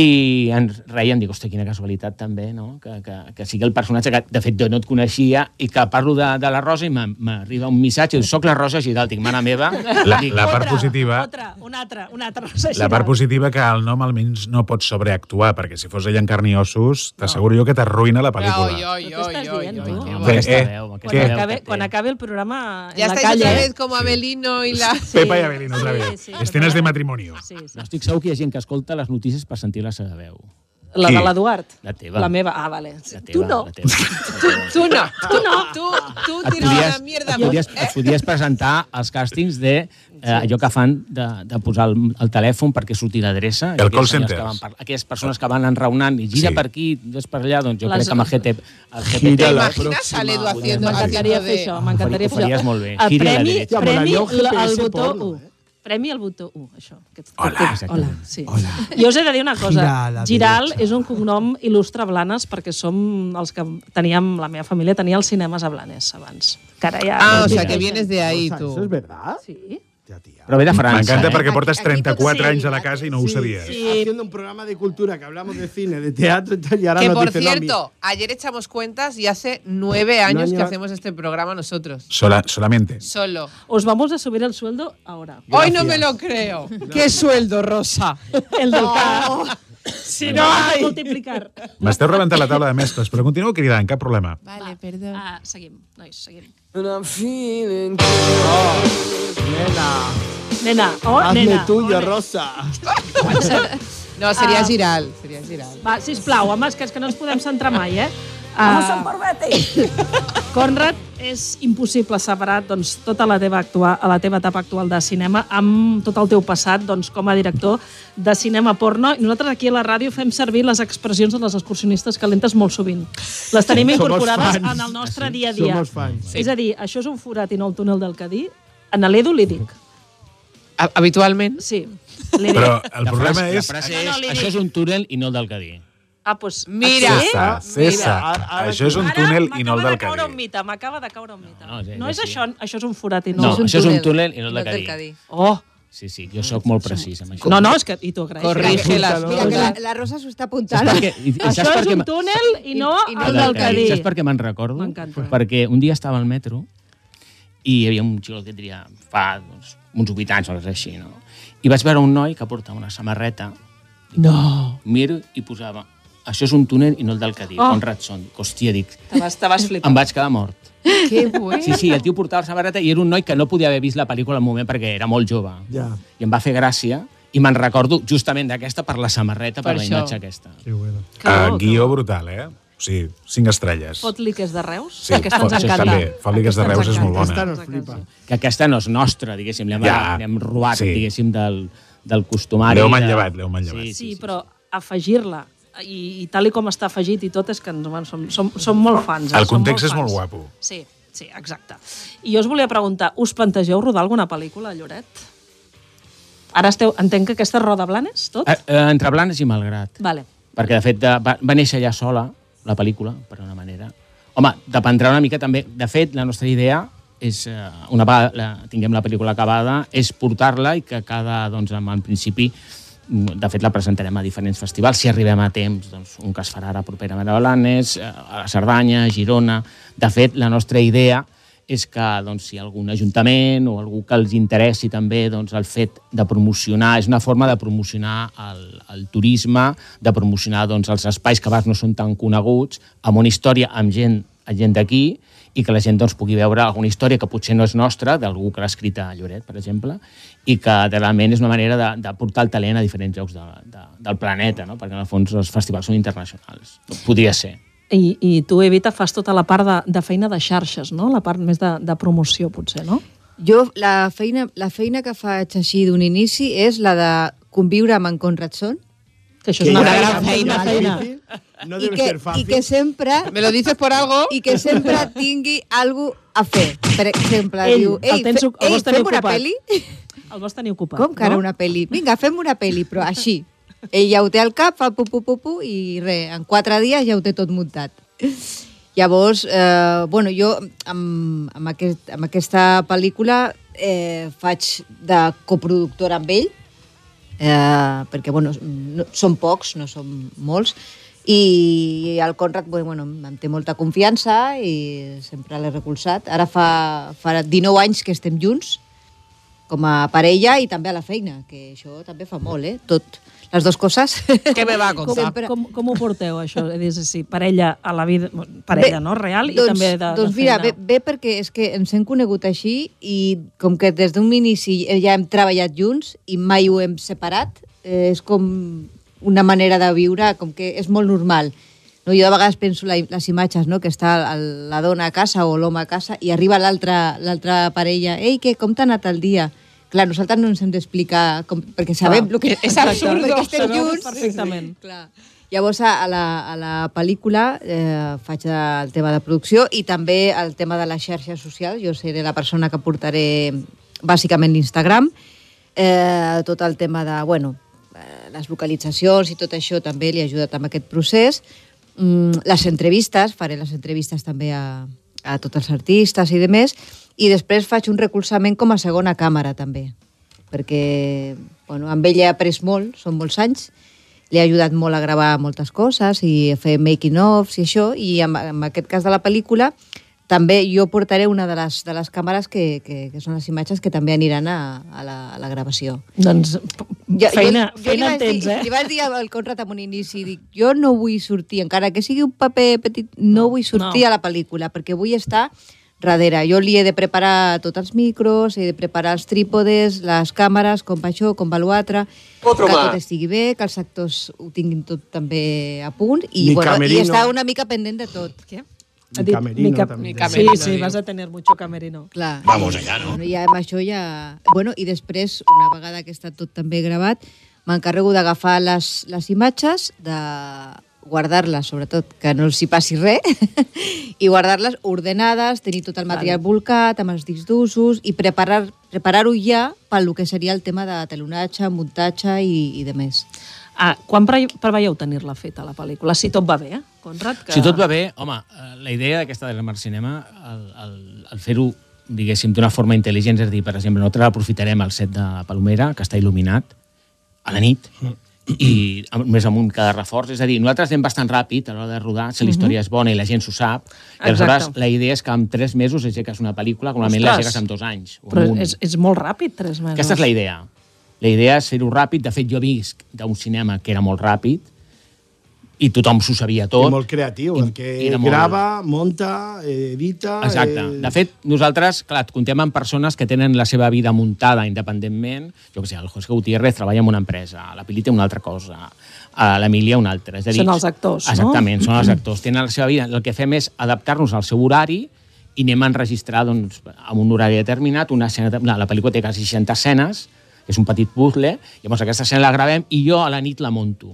Speaker 8: i ens reien, dic, hòstia, quina casualitat també, no? Que, que, que sigui el personatge que, de fet, jo no et coneixia i que parlo de, de la Rosa i m'ha- m'arriba un missatge i diu, soc la Rosa Giralt, dic, mare meva.
Speaker 6: La,
Speaker 8: dic,
Speaker 6: la part positiva...
Speaker 4: Otra, una altra, una altra Rosa
Speaker 6: La
Speaker 4: Giral.
Speaker 6: part positiva que el nom almenys no pot sobreactuar, perquè si fos ella en carn i ossos, t'asseguro jo que t'arruïna la pel·lícula.
Speaker 4: Però què estàs dient, tu?
Speaker 8: Home,
Speaker 6: Bé,
Speaker 8: aquesta
Speaker 6: eh,
Speaker 8: veu,
Speaker 4: Quan,
Speaker 6: què?
Speaker 8: aquesta veu que
Speaker 4: acabe,
Speaker 8: té.
Speaker 4: quan acabe el programa
Speaker 7: Ya
Speaker 4: en la
Speaker 7: estáis
Speaker 4: calle...
Speaker 7: otra vez como Abelino y la...
Speaker 6: Pepa i Avelino, otra vez.
Speaker 4: Sí, sí,
Speaker 6: Escenas de
Speaker 4: totalment.
Speaker 6: matrimonio.
Speaker 4: Sí, sí.
Speaker 8: No estic segur que hi ha gent que escolta les notícies per sentir la seva veu.
Speaker 4: La
Speaker 6: Qui?
Speaker 4: de l'Eduard.
Speaker 8: La teva.
Speaker 4: La meva. Ah, vale.
Speaker 8: La teva,
Speaker 4: tu no.
Speaker 8: La teva.
Speaker 7: Tú, tú no, tú no. Tú, tú
Speaker 5: Ah,
Speaker 8: et
Speaker 7: tiras
Speaker 8: podies,
Speaker 7: la mierda. pues,
Speaker 8: et podies,
Speaker 4: eh?
Speaker 8: et podies presentar als càstings de eh, allò que fan de, de posar el, el telèfon perquè surti l'adreça.
Speaker 6: El
Speaker 8: Aquelles
Speaker 6: call
Speaker 8: senyores
Speaker 6: centers.
Speaker 8: que van par- Aquelles persones que van enraonant i
Speaker 6: Sí.
Speaker 8: gira sí. per aquí, ves per allà, doncs jo
Speaker 4: Les-
Speaker 8: Les... crec que amb el GT... El GT
Speaker 7: ¿Te
Speaker 5: Gira la
Speaker 7: imaginas
Speaker 5: próxima,
Speaker 7: a Ledu
Speaker 5: Julián
Speaker 7: haciendo
Speaker 5: Madrid.
Speaker 7: haciendo
Speaker 4: M'encantaria fer
Speaker 7: de-
Speaker 4: això, m'encantaria
Speaker 8: Ho
Speaker 4: fer
Speaker 8: faries
Speaker 4: això.
Speaker 8: molt bé.
Speaker 4: El
Speaker 8: Giri a la
Speaker 4: premi,
Speaker 8: dreta.
Speaker 4: premi,
Speaker 5: Ja, molaria
Speaker 4: el
Speaker 5: un GPS
Speaker 4: botó
Speaker 5: porno,
Speaker 4: 1.
Speaker 5: eh?
Speaker 4: Premi el botó 1, això. Que, que-
Speaker 6: Hola.
Speaker 4: que-
Speaker 8: Exactament.
Speaker 4: hola, sí. hola. Jo us he de dir una
Speaker 5: Gira a
Speaker 4: cosa.
Speaker 5: la
Speaker 4: Giral
Speaker 5: dreta.
Speaker 4: és un cognom il·lustre a Blanes perquè som els que teníem, la meva família tenia els cinemes a Blanes abans. Que ara ja...
Speaker 7: Ah, o
Speaker 8: Mira.
Speaker 7: sea, que vienes de ahí
Speaker 5: O sea,
Speaker 7: tú.
Speaker 5: ¿Eso es verdad?
Speaker 4: Sí.
Speaker 5: Hòstia, tia.
Speaker 8: Però ve de França,
Speaker 6: M'encanta
Speaker 8: eh?
Speaker 6: perquè portes
Speaker 9: Aquí tot
Speaker 6: 34
Speaker 9: s'ha
Speaker 6: anys a la
Speaker 9: lligat.
Speaker 6: casa i no ho sabies.
Speaker 5: Haciendo un programa de cultura que hablamos de cine, de teatro y tal, y ahora
Speaker 7: que
Speaker 5: nos
Speaker 7: por
Speaker 5: dice, no, mira,
Speaker 7: cierto, ayer echamos cuentas y hace nueve años que
Speaker 5: año-
Speaker 7: hacemos este programa nosotros.
Speaker 6: Sola- solamente.
Speaker 7: Solo.
Speaker 4: Os vamos a subir el sueldo ahora.
Speaker 7: Hoy no me lo
Speaker 5: <laughs>
Speaker 7: creo. ¿Qué sueldo, Rosa?
Speaker 4: El del cap.
Speaker 7: Si no hay.
Speaker 4: Multiplicar.
Speaker 6: M'esteu rebentant la taula de mestres, però continuo cridant, cap problema.
Speaker 7: Vale, perdón.
Speaker 4: Ah, seguim, nois, seguim.
Speaker 5: "Oh, Nena,
Speaker 4: Nena, oh,
Speaker 5: hazme
Speaker 4: nena.
Speaker 5: tuyo,
Speaker 4: ole.
Speaker 5: Rosa.
Speaker 7: No, sería
Speaker 4: Ah.
Speaker 7: Giral. Sería Giral.
Speaker 4: Va, sisplau, home, és que, és que no ens podem centrar mai, eh? Vamos a <laughs> Conrad, és impossible separar doncs, tota la teva, actua, la teva etapa actual de cinema amb tot el teu passat doncs, com a director de cinema porno. I Nosaltres aquí a la ràdio fem servir les expressions de les excursionistes calentes molt sovint. Les tenim
Speaker 5: Somos
Speaker 4: incorporades
Speaker 5: fans. Ah,
Speaker 4: en el nostre dia a dia.
Speaker 5: Somos fans.
Speaker 4: És a dir, això és un forat i no el túnel del Cadí. A l'Edu li dic.
Speaker 7: Ha- Habitualmente.
Speaker 4: Sí. Li dic.
Speaker 6: Però el problema
Speaker 8: frase,
Speaker 6: és...
Speaker 8: La frase
Speaker 4: No,
Speaker 8: és,
Speaker 4: no, li dic.
Speaker 8: això és un túnel i no el del Cadí.
Speaker 4: Ah, doncs,
Speaker 7: Mira.
Speaker 4: aquí-
Speaker 6: Cessa, cessa.
Speaker 5: Mira, ara-
Speaker 6: Això és un
Speaker 4: Ara
Speaker 6: túnel i no el del
Speaker 4: M'acaba de caure un
Speaker 6: Cadí.
Speaker 4: mite, m'acaba de caure un mite.
Speaker 8: No,
Speaker 4: No,
Speaker 8: no, sí,
Speaker 4: és
Speaker 8: sí.
Speaker 4: això, això és un forat i no,
Speaker 8: No,
Speaker 4: és un...
Speaker 8: això és un túnel i no el del Cadí.
Speaker 4: Oh,
Speaker 8: Sí, sí, jo sóc molt precís amb això.
Speaker 4: no, no, és que... I t'ho agraeixo.
Speaker 7: Corrígelas.
Speaker 9: Mira, que la, la Rosa s'ho està apuntant.
Speaker 8: Saps per què? I- i
Speaker 4: Això
Speaker 8: saps per
Speaker 4: és
Speaker 8: què
Speaker 4: un
Speaker 8: m'ha-
Speaker 4: túnel i no
Speaker 9: I- i no
Speaker 4: el
Speaker 9: del
Speaker 4: del Cadí.
Speaker 8: Saps per què me'n recordo?
Speaker 4: M'encanta.
Speaker 8: Perquè un dia estava al metro i hi havia un xico que diria fa doncs, uns 8 anys o res així, no? I vaig veure un noi que portava una samarreta,
Speaker 7: No.
Speaker 8: miro i posava això és un túnel i no el del Cadí,
Speaker 4: Oh.
Speaker 8: oh. Conrad Son. Hòstia, dic,
Speaker 4: Te vas, te vas flipar.
Speaker 8: em vaig quedar mort.
Speaker 9: <laughs>
Speaker 7: Qué bueno.
Speaker 8: Sí, sí, el tio portava la samarreta i era un noi que no podia haver vist la pel·lícula al moment perquè era molt jove.
Speaker 5: Ja.
Speaker 8: I em va fer gràcia i me'n recordo justament d'aquesta per la samarreta, per,
Speaker 7: Per
Speaker 8: la
Speaker 7: això.
Speaker 8: imatge aquesta.
Speaker 5: Qué bueno.
Speaker 6: Uh, guió brutal, eh? O sigui, cinc estrelles.
Speaker 4: Fot-li que és de Reus,
Speaker 6: Sí,
Speaker 4: sí, aquesta ens
Speaker 6: fot-
Speaker 4: encanta.
Speaker 6: també. Fot-li que és de
Speaker 4: Aquesta ens
Speaker 6: Reus, és molt
Speaker 4: encanta.
Speaker 5: bona. Aquesta nos flipa.
Speaker 8: Que aquesta no és nostra, diguéssim, l'hem
Speaker 6: Ja.
Speaker 8: ja. robat,
Speaker 6: Sí.
Speaker 8: sí. diguéssim, del, del costumari.
Speaker 6: L'heu
Speaker 8: de-
Speaker 6: manllevat, l'heu manllevat.
Speaker 8: Sí,
Speaker 4: Sí, però afegir-la, i, i tal i com està afegit i tot, és que ens, bueno, som, som, som molt fans. eh?
Speaker 6: El
Speaker 4: Som
Speaker 6: context és
Speaker 4: fans.
Speaker 6: molt guapo.
Speaker 4: Sí, sí, exacte. I jo us volia preguntar, us plantegeu rodar alguna pel·lícula, a Lloret? Ara esteu, entenc que aquesta és Roda Blanes, tot?
Speaker 8: Eh, eh, entre Blanes i Malgrat.
Speaker 4: Vale.
Speaker 8: Perquè, de fet, de, va, va néixer ja sola, la pel·lícula, per una manera. Home, dependrà una mica també... De fet, la nostra idea és, eh, una vegada la, tinguem la pel·lícula acabada, és portar-la i que cada, doncs, en en principi, mm, de fet, la presentarem a diferents festivals, si arribem a temps, doncs, un que es farà ara properament a Blanes, eh, a la Cerdanya, a Girona... De fet, la nostra idea és que doncs, si hi ha algun ajuntament o algú que els interessi també doncs, el fet de promocionar, és una forma de promocionar el, el turisme, de promocionar doncs, els espais que abans no són tan coneguts, amb una història amb gent, amb gent d'aquí, i que la gent doncs, pugui veure alguna història que potser no és nostra, d'algú que l'ha escrita a Lloret, per exemple, i que realment és una manera de, de portar el talent a diferents llocs de, de, del planeta, no? perquè en el fons els festivals són internacionals. Podria ser.
Speaker 4: I, I tu, Evita, fas tota la part de, de feina de xarxes, no? La part més de, de promoció, potser, no?
Speaker 9: Jo, la feina, la feina que faig així d'un inici és la de conviure amb en Conrad Son
Speaker 4: Que això és
Speaker 5: Que
Speaker 4: una
Speaker 5: ja
Speaker 4: gran
Speaker 5: és
Speaker 4: feina.
Speaker 5: molt
Speaker 4: feina.
Speaker 5: difícil, No
Speaker 9: i,
Speaker 5: debe
Speaker 9: que,
Speaker 5: ser
Speaker 9: i
Speaker 5: fácil.
Speaker 9: que sempre
Speaker 7: ¿Me lo dices por <laughs> algo?
Speaker 9: i que sempre tingui algú a fer. Per exemple,
Speaker 4: Ell,
Speaker 9: diu,
Speaker 4: el
Speaker 9: ei,
Speaker 4: tens
Speaker 9: fe,
Speaker 4: oc- el
Speaker 9: ei
Speaker 4: vols tenir
Speaker 9: fem una
Speaker 4: ocupat."
Speaker 9: pel·li?
Speaker 4: El vols tenir ocupat,
Speaker 9: Com que ara
Speaker 4: no?
Speaker 9: una pel·li? Vinga, fem una pel·li, però així. Ell ja ho té al cap, fa pu, pu, pu, pu, i res, en quatre dies ja ho té tot muntat. Llavors, eh, bueno, jo amb, amb, aquest, amb aquesta pel·lícula eh, faig de coproductora amb ell, eh, perquè bueno, no, són pocs, no són molts, i el Conrad bueno, em té molta confiança i sempre l'he recolzat. Ara fa, fa 19 anys que estem junts, com a parella i també a la feina, que això també fa molt, eh? Tot, les dues coses.
Speaker 7: Què me va a
Speaker 4: Com,
Speaker 7: contar?
Speaker 9: Sempre-
Speaker 4: com, com ho porteu, això? És a dir, parella a la vida... Parella,
Speaker 9: Bé,
Speaker 4: no? Real i també de,
Speaker 9: doncs
Speaker 4: de
Speaker 9: mira,
Speaker 4: feina.
Speaker 9: bé, bé, perquè és que ens hem conegut així i com que des d'un inici ja hem treballat junts i mai ho hem separat, eh, és com una manera de viure, com que és molt normal. No, jo de vegades penso la, les imatges, no? que està el, la dona a casa o l'home a casa i arriba l'altra l'altra parella, ei, què, com t'ha anat el dia? Clar, nosaltres no ens hem d'explicar, com- perquè sabem
Speaker 4: Clar.
Speaker 9: el
Speaker 5: Ah,
Speaker 9: que...
Speaker 7: És absurdo.
Speaker 9: Perquè estem
Speaker 4: Sabeu
Speaker 9: junts.
Speaker 4: perfectament.
Speaker 9: Clar. Llavors, a a la, a la pel·lícula eh, faig el tema de producció i també el tema de les xarxes socials. Jo seré la persona que portaré bàsicament l'Instagram. Eh, tot el tema de, bueno, eh, les localitzacions i tot això també li ha ajudat amb aquest procés. Mm, les entrevistes, faré les entrevistes també a, a tots els artistes i de més, i després faig un recolzament com a segona càmera també, perquè bueno, amb ella he après molt, són molts anys, l'he ajudat molt a gravar moltes coses i a fer making-ofs i això, i en, en aquest cas de la pel·lícula també jo portaré una de les, de les càmeres que, que, que són les imatges que també aniran a, a, la, a la gravació.
Speaker 4: Doncs
Speaker 9: Jo-
Speaker 4: feina,
Speaker 9: jo, jo li
Speaker 4: feina
Speaker 9: vaig
Speaker 4: en tens,
Speaker 9: dir,
Speaker 4: eh?
Speaker 9: Li vaig dir al Conrad en un inici, dic, jo no vull sortir, encara que sigui un paper petit, no, vull sortir
Speaker 4: no.
Speaker 9: a la pel·lícula, perquè vull estar darrere. Jo li he de preparar tots els micros, he de preparar els trípodes, les càmeres, com va això, com va l'altre, que
Speaker 11: Otro más.
Speaker 9: tot estigui bé, que els actors ho tinguin tot també a punt, i,
Speaker 5: Mi
Speaker 9: bueno, i
Speaker 5: camerino.
Speaker 9: estar una mica pendent de tot.
Speaker 4: Què?
Speaker 5: Mi camerino, també.
Speaker 4: Mi
Speaker 5: Mi
Speaker 4: camerino.
Speaker 5: camerino,
Speaker 4: Sí, sí,
Speaker 5: diu.
Speaker 4: vas a tenir mucho camerino.
Speaker 9: Clar.
Speaker 5: Vamos allá, ¿no?
Speaker 9: Bueno, I amb això ja... Bueno, i després, una vegada que està tot també gravat, m'encarrego d'agafar les, les imatges, de guardar-les, sobretot, que no els hi passi res, <laughs> i guardar-les ordenades, tenir tot el material
Speaker 4: Vale.
Speaker 9: volcat, amb els discs d'usos, i preparar-ho preparar preparar-ho ja pel que seria el tema de telonatge, muntatge i, i de més.
Speaker 4: Ah, quan pre preveieu tenir-la feta, la pel·lícula? Si tot va bé, eh, Conrad? Que...
Speaker 8: Si tot va bé, home, eh, la idea d'aquesta de l'Emar Cinema, el, el, el fer-ho, diguéssim, d'una forma intel·ligent, és a dir, per exemple, nosaltres aprofitarem el set de la Palomera, que està il·luminat, a la nit, i amb- més amunt cada reforç. És a dir, nosaltres anem bastant ràpid a l'hora de rodar, si la història és bona i la gent s'ho sap. I aleshores
Speaker 4: Mhm. Exacte.
Speaker 8: la idea és que en tres mesos aixeques una pel·lícula, com a mínim la
Speaker 4: Ostres.
Speaker 8: aixeques en dos anys. O
Speaker 4: Però
Speaker 8: en un.
Speaker 4: és, és molt ràpid, tres mesos.
Speaker 8: Aquesta és la idea. La idea és fer-ho ràpid. De fet, jo visc d'un cinema que era molt ràpid i tothom s'ho sabia tot.
Speaker 5: I molt creatiu, el que
Speaker 8: era molt-
Speaker 5: grava, monta, eh, edita...
Speaker 8: Exacte.
Speaker 5: Eh,
Speaker 8: De fet, nosaltres, clar, et contem amb persones que tenen la seva vida muntada independentment. Jo què sé, el José Gutiérrez treballa en una empresa, la Pili té una altra cosa, a l'Emília una altra. És a dir,
Speaker 4: Són els actors, no?
Speaker 8: Exactament, són els actors. Tenen la seva vida. El que fem és adaptar-nos al seu horari i anem a enregistrar doncs, amb un horari determinat una escena... de- La, la pel·lícula té quasi 60 escenes, és un petit puzzle, llavors aquesta escena la gravem i jo a la nit la monto.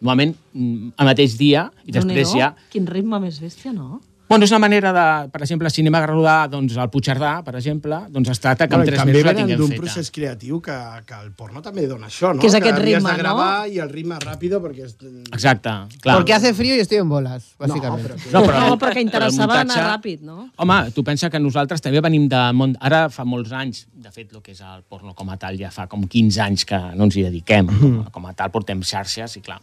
Speaker 8: Normalment, mm, el mateix dia, i després
Speaker 4: Déu-n'hi-do,
Speaker 8: ja...
Speaker 4: Quin ritme més bèstia, no?
Speaker 8: Bueno, és una manera de, per exemple, si anem a rodar doncs, al Puigcerdà, per exemple, doncs es tracta que
Speaker 5: Bueno,
Speaker 8: en
Speaker 5: i
Speaker 8: tres
Speaker 5: també
Speaker 8: mesos la
Speaker 5: venen
Speaker 8: tinguem
Speaker 5: d'un
Speaker 8: feta.
Speaker 5: procés creatiu que, que el porno també dona això, no?
Speaker 4: Que és aquest
Speaker 5: havies
Speaker 4: ritme,
Speaker 5: de gravar
Speaker 4: no?
Speaker 5: i el ritme ràpido perquè... És... eh,
Speaker 8: Exacte, clar.
Speaker 11: Porque hace frío y estoy en bolas, básicamente.
Speaker 8: No, però,
Speaker 4: no, perquè interessava
Speaker 8: però Ah, el
Speaker 4: anar ràpid, no?
Speaker 8: Home, tu pensa que nosaltres també venim de món... Ara fa molts anys, de fet, el que és el porno com a tal ja fa com 15 anys que no ens hi dediquem. Com a- Com a tal portem xarxes i, clar,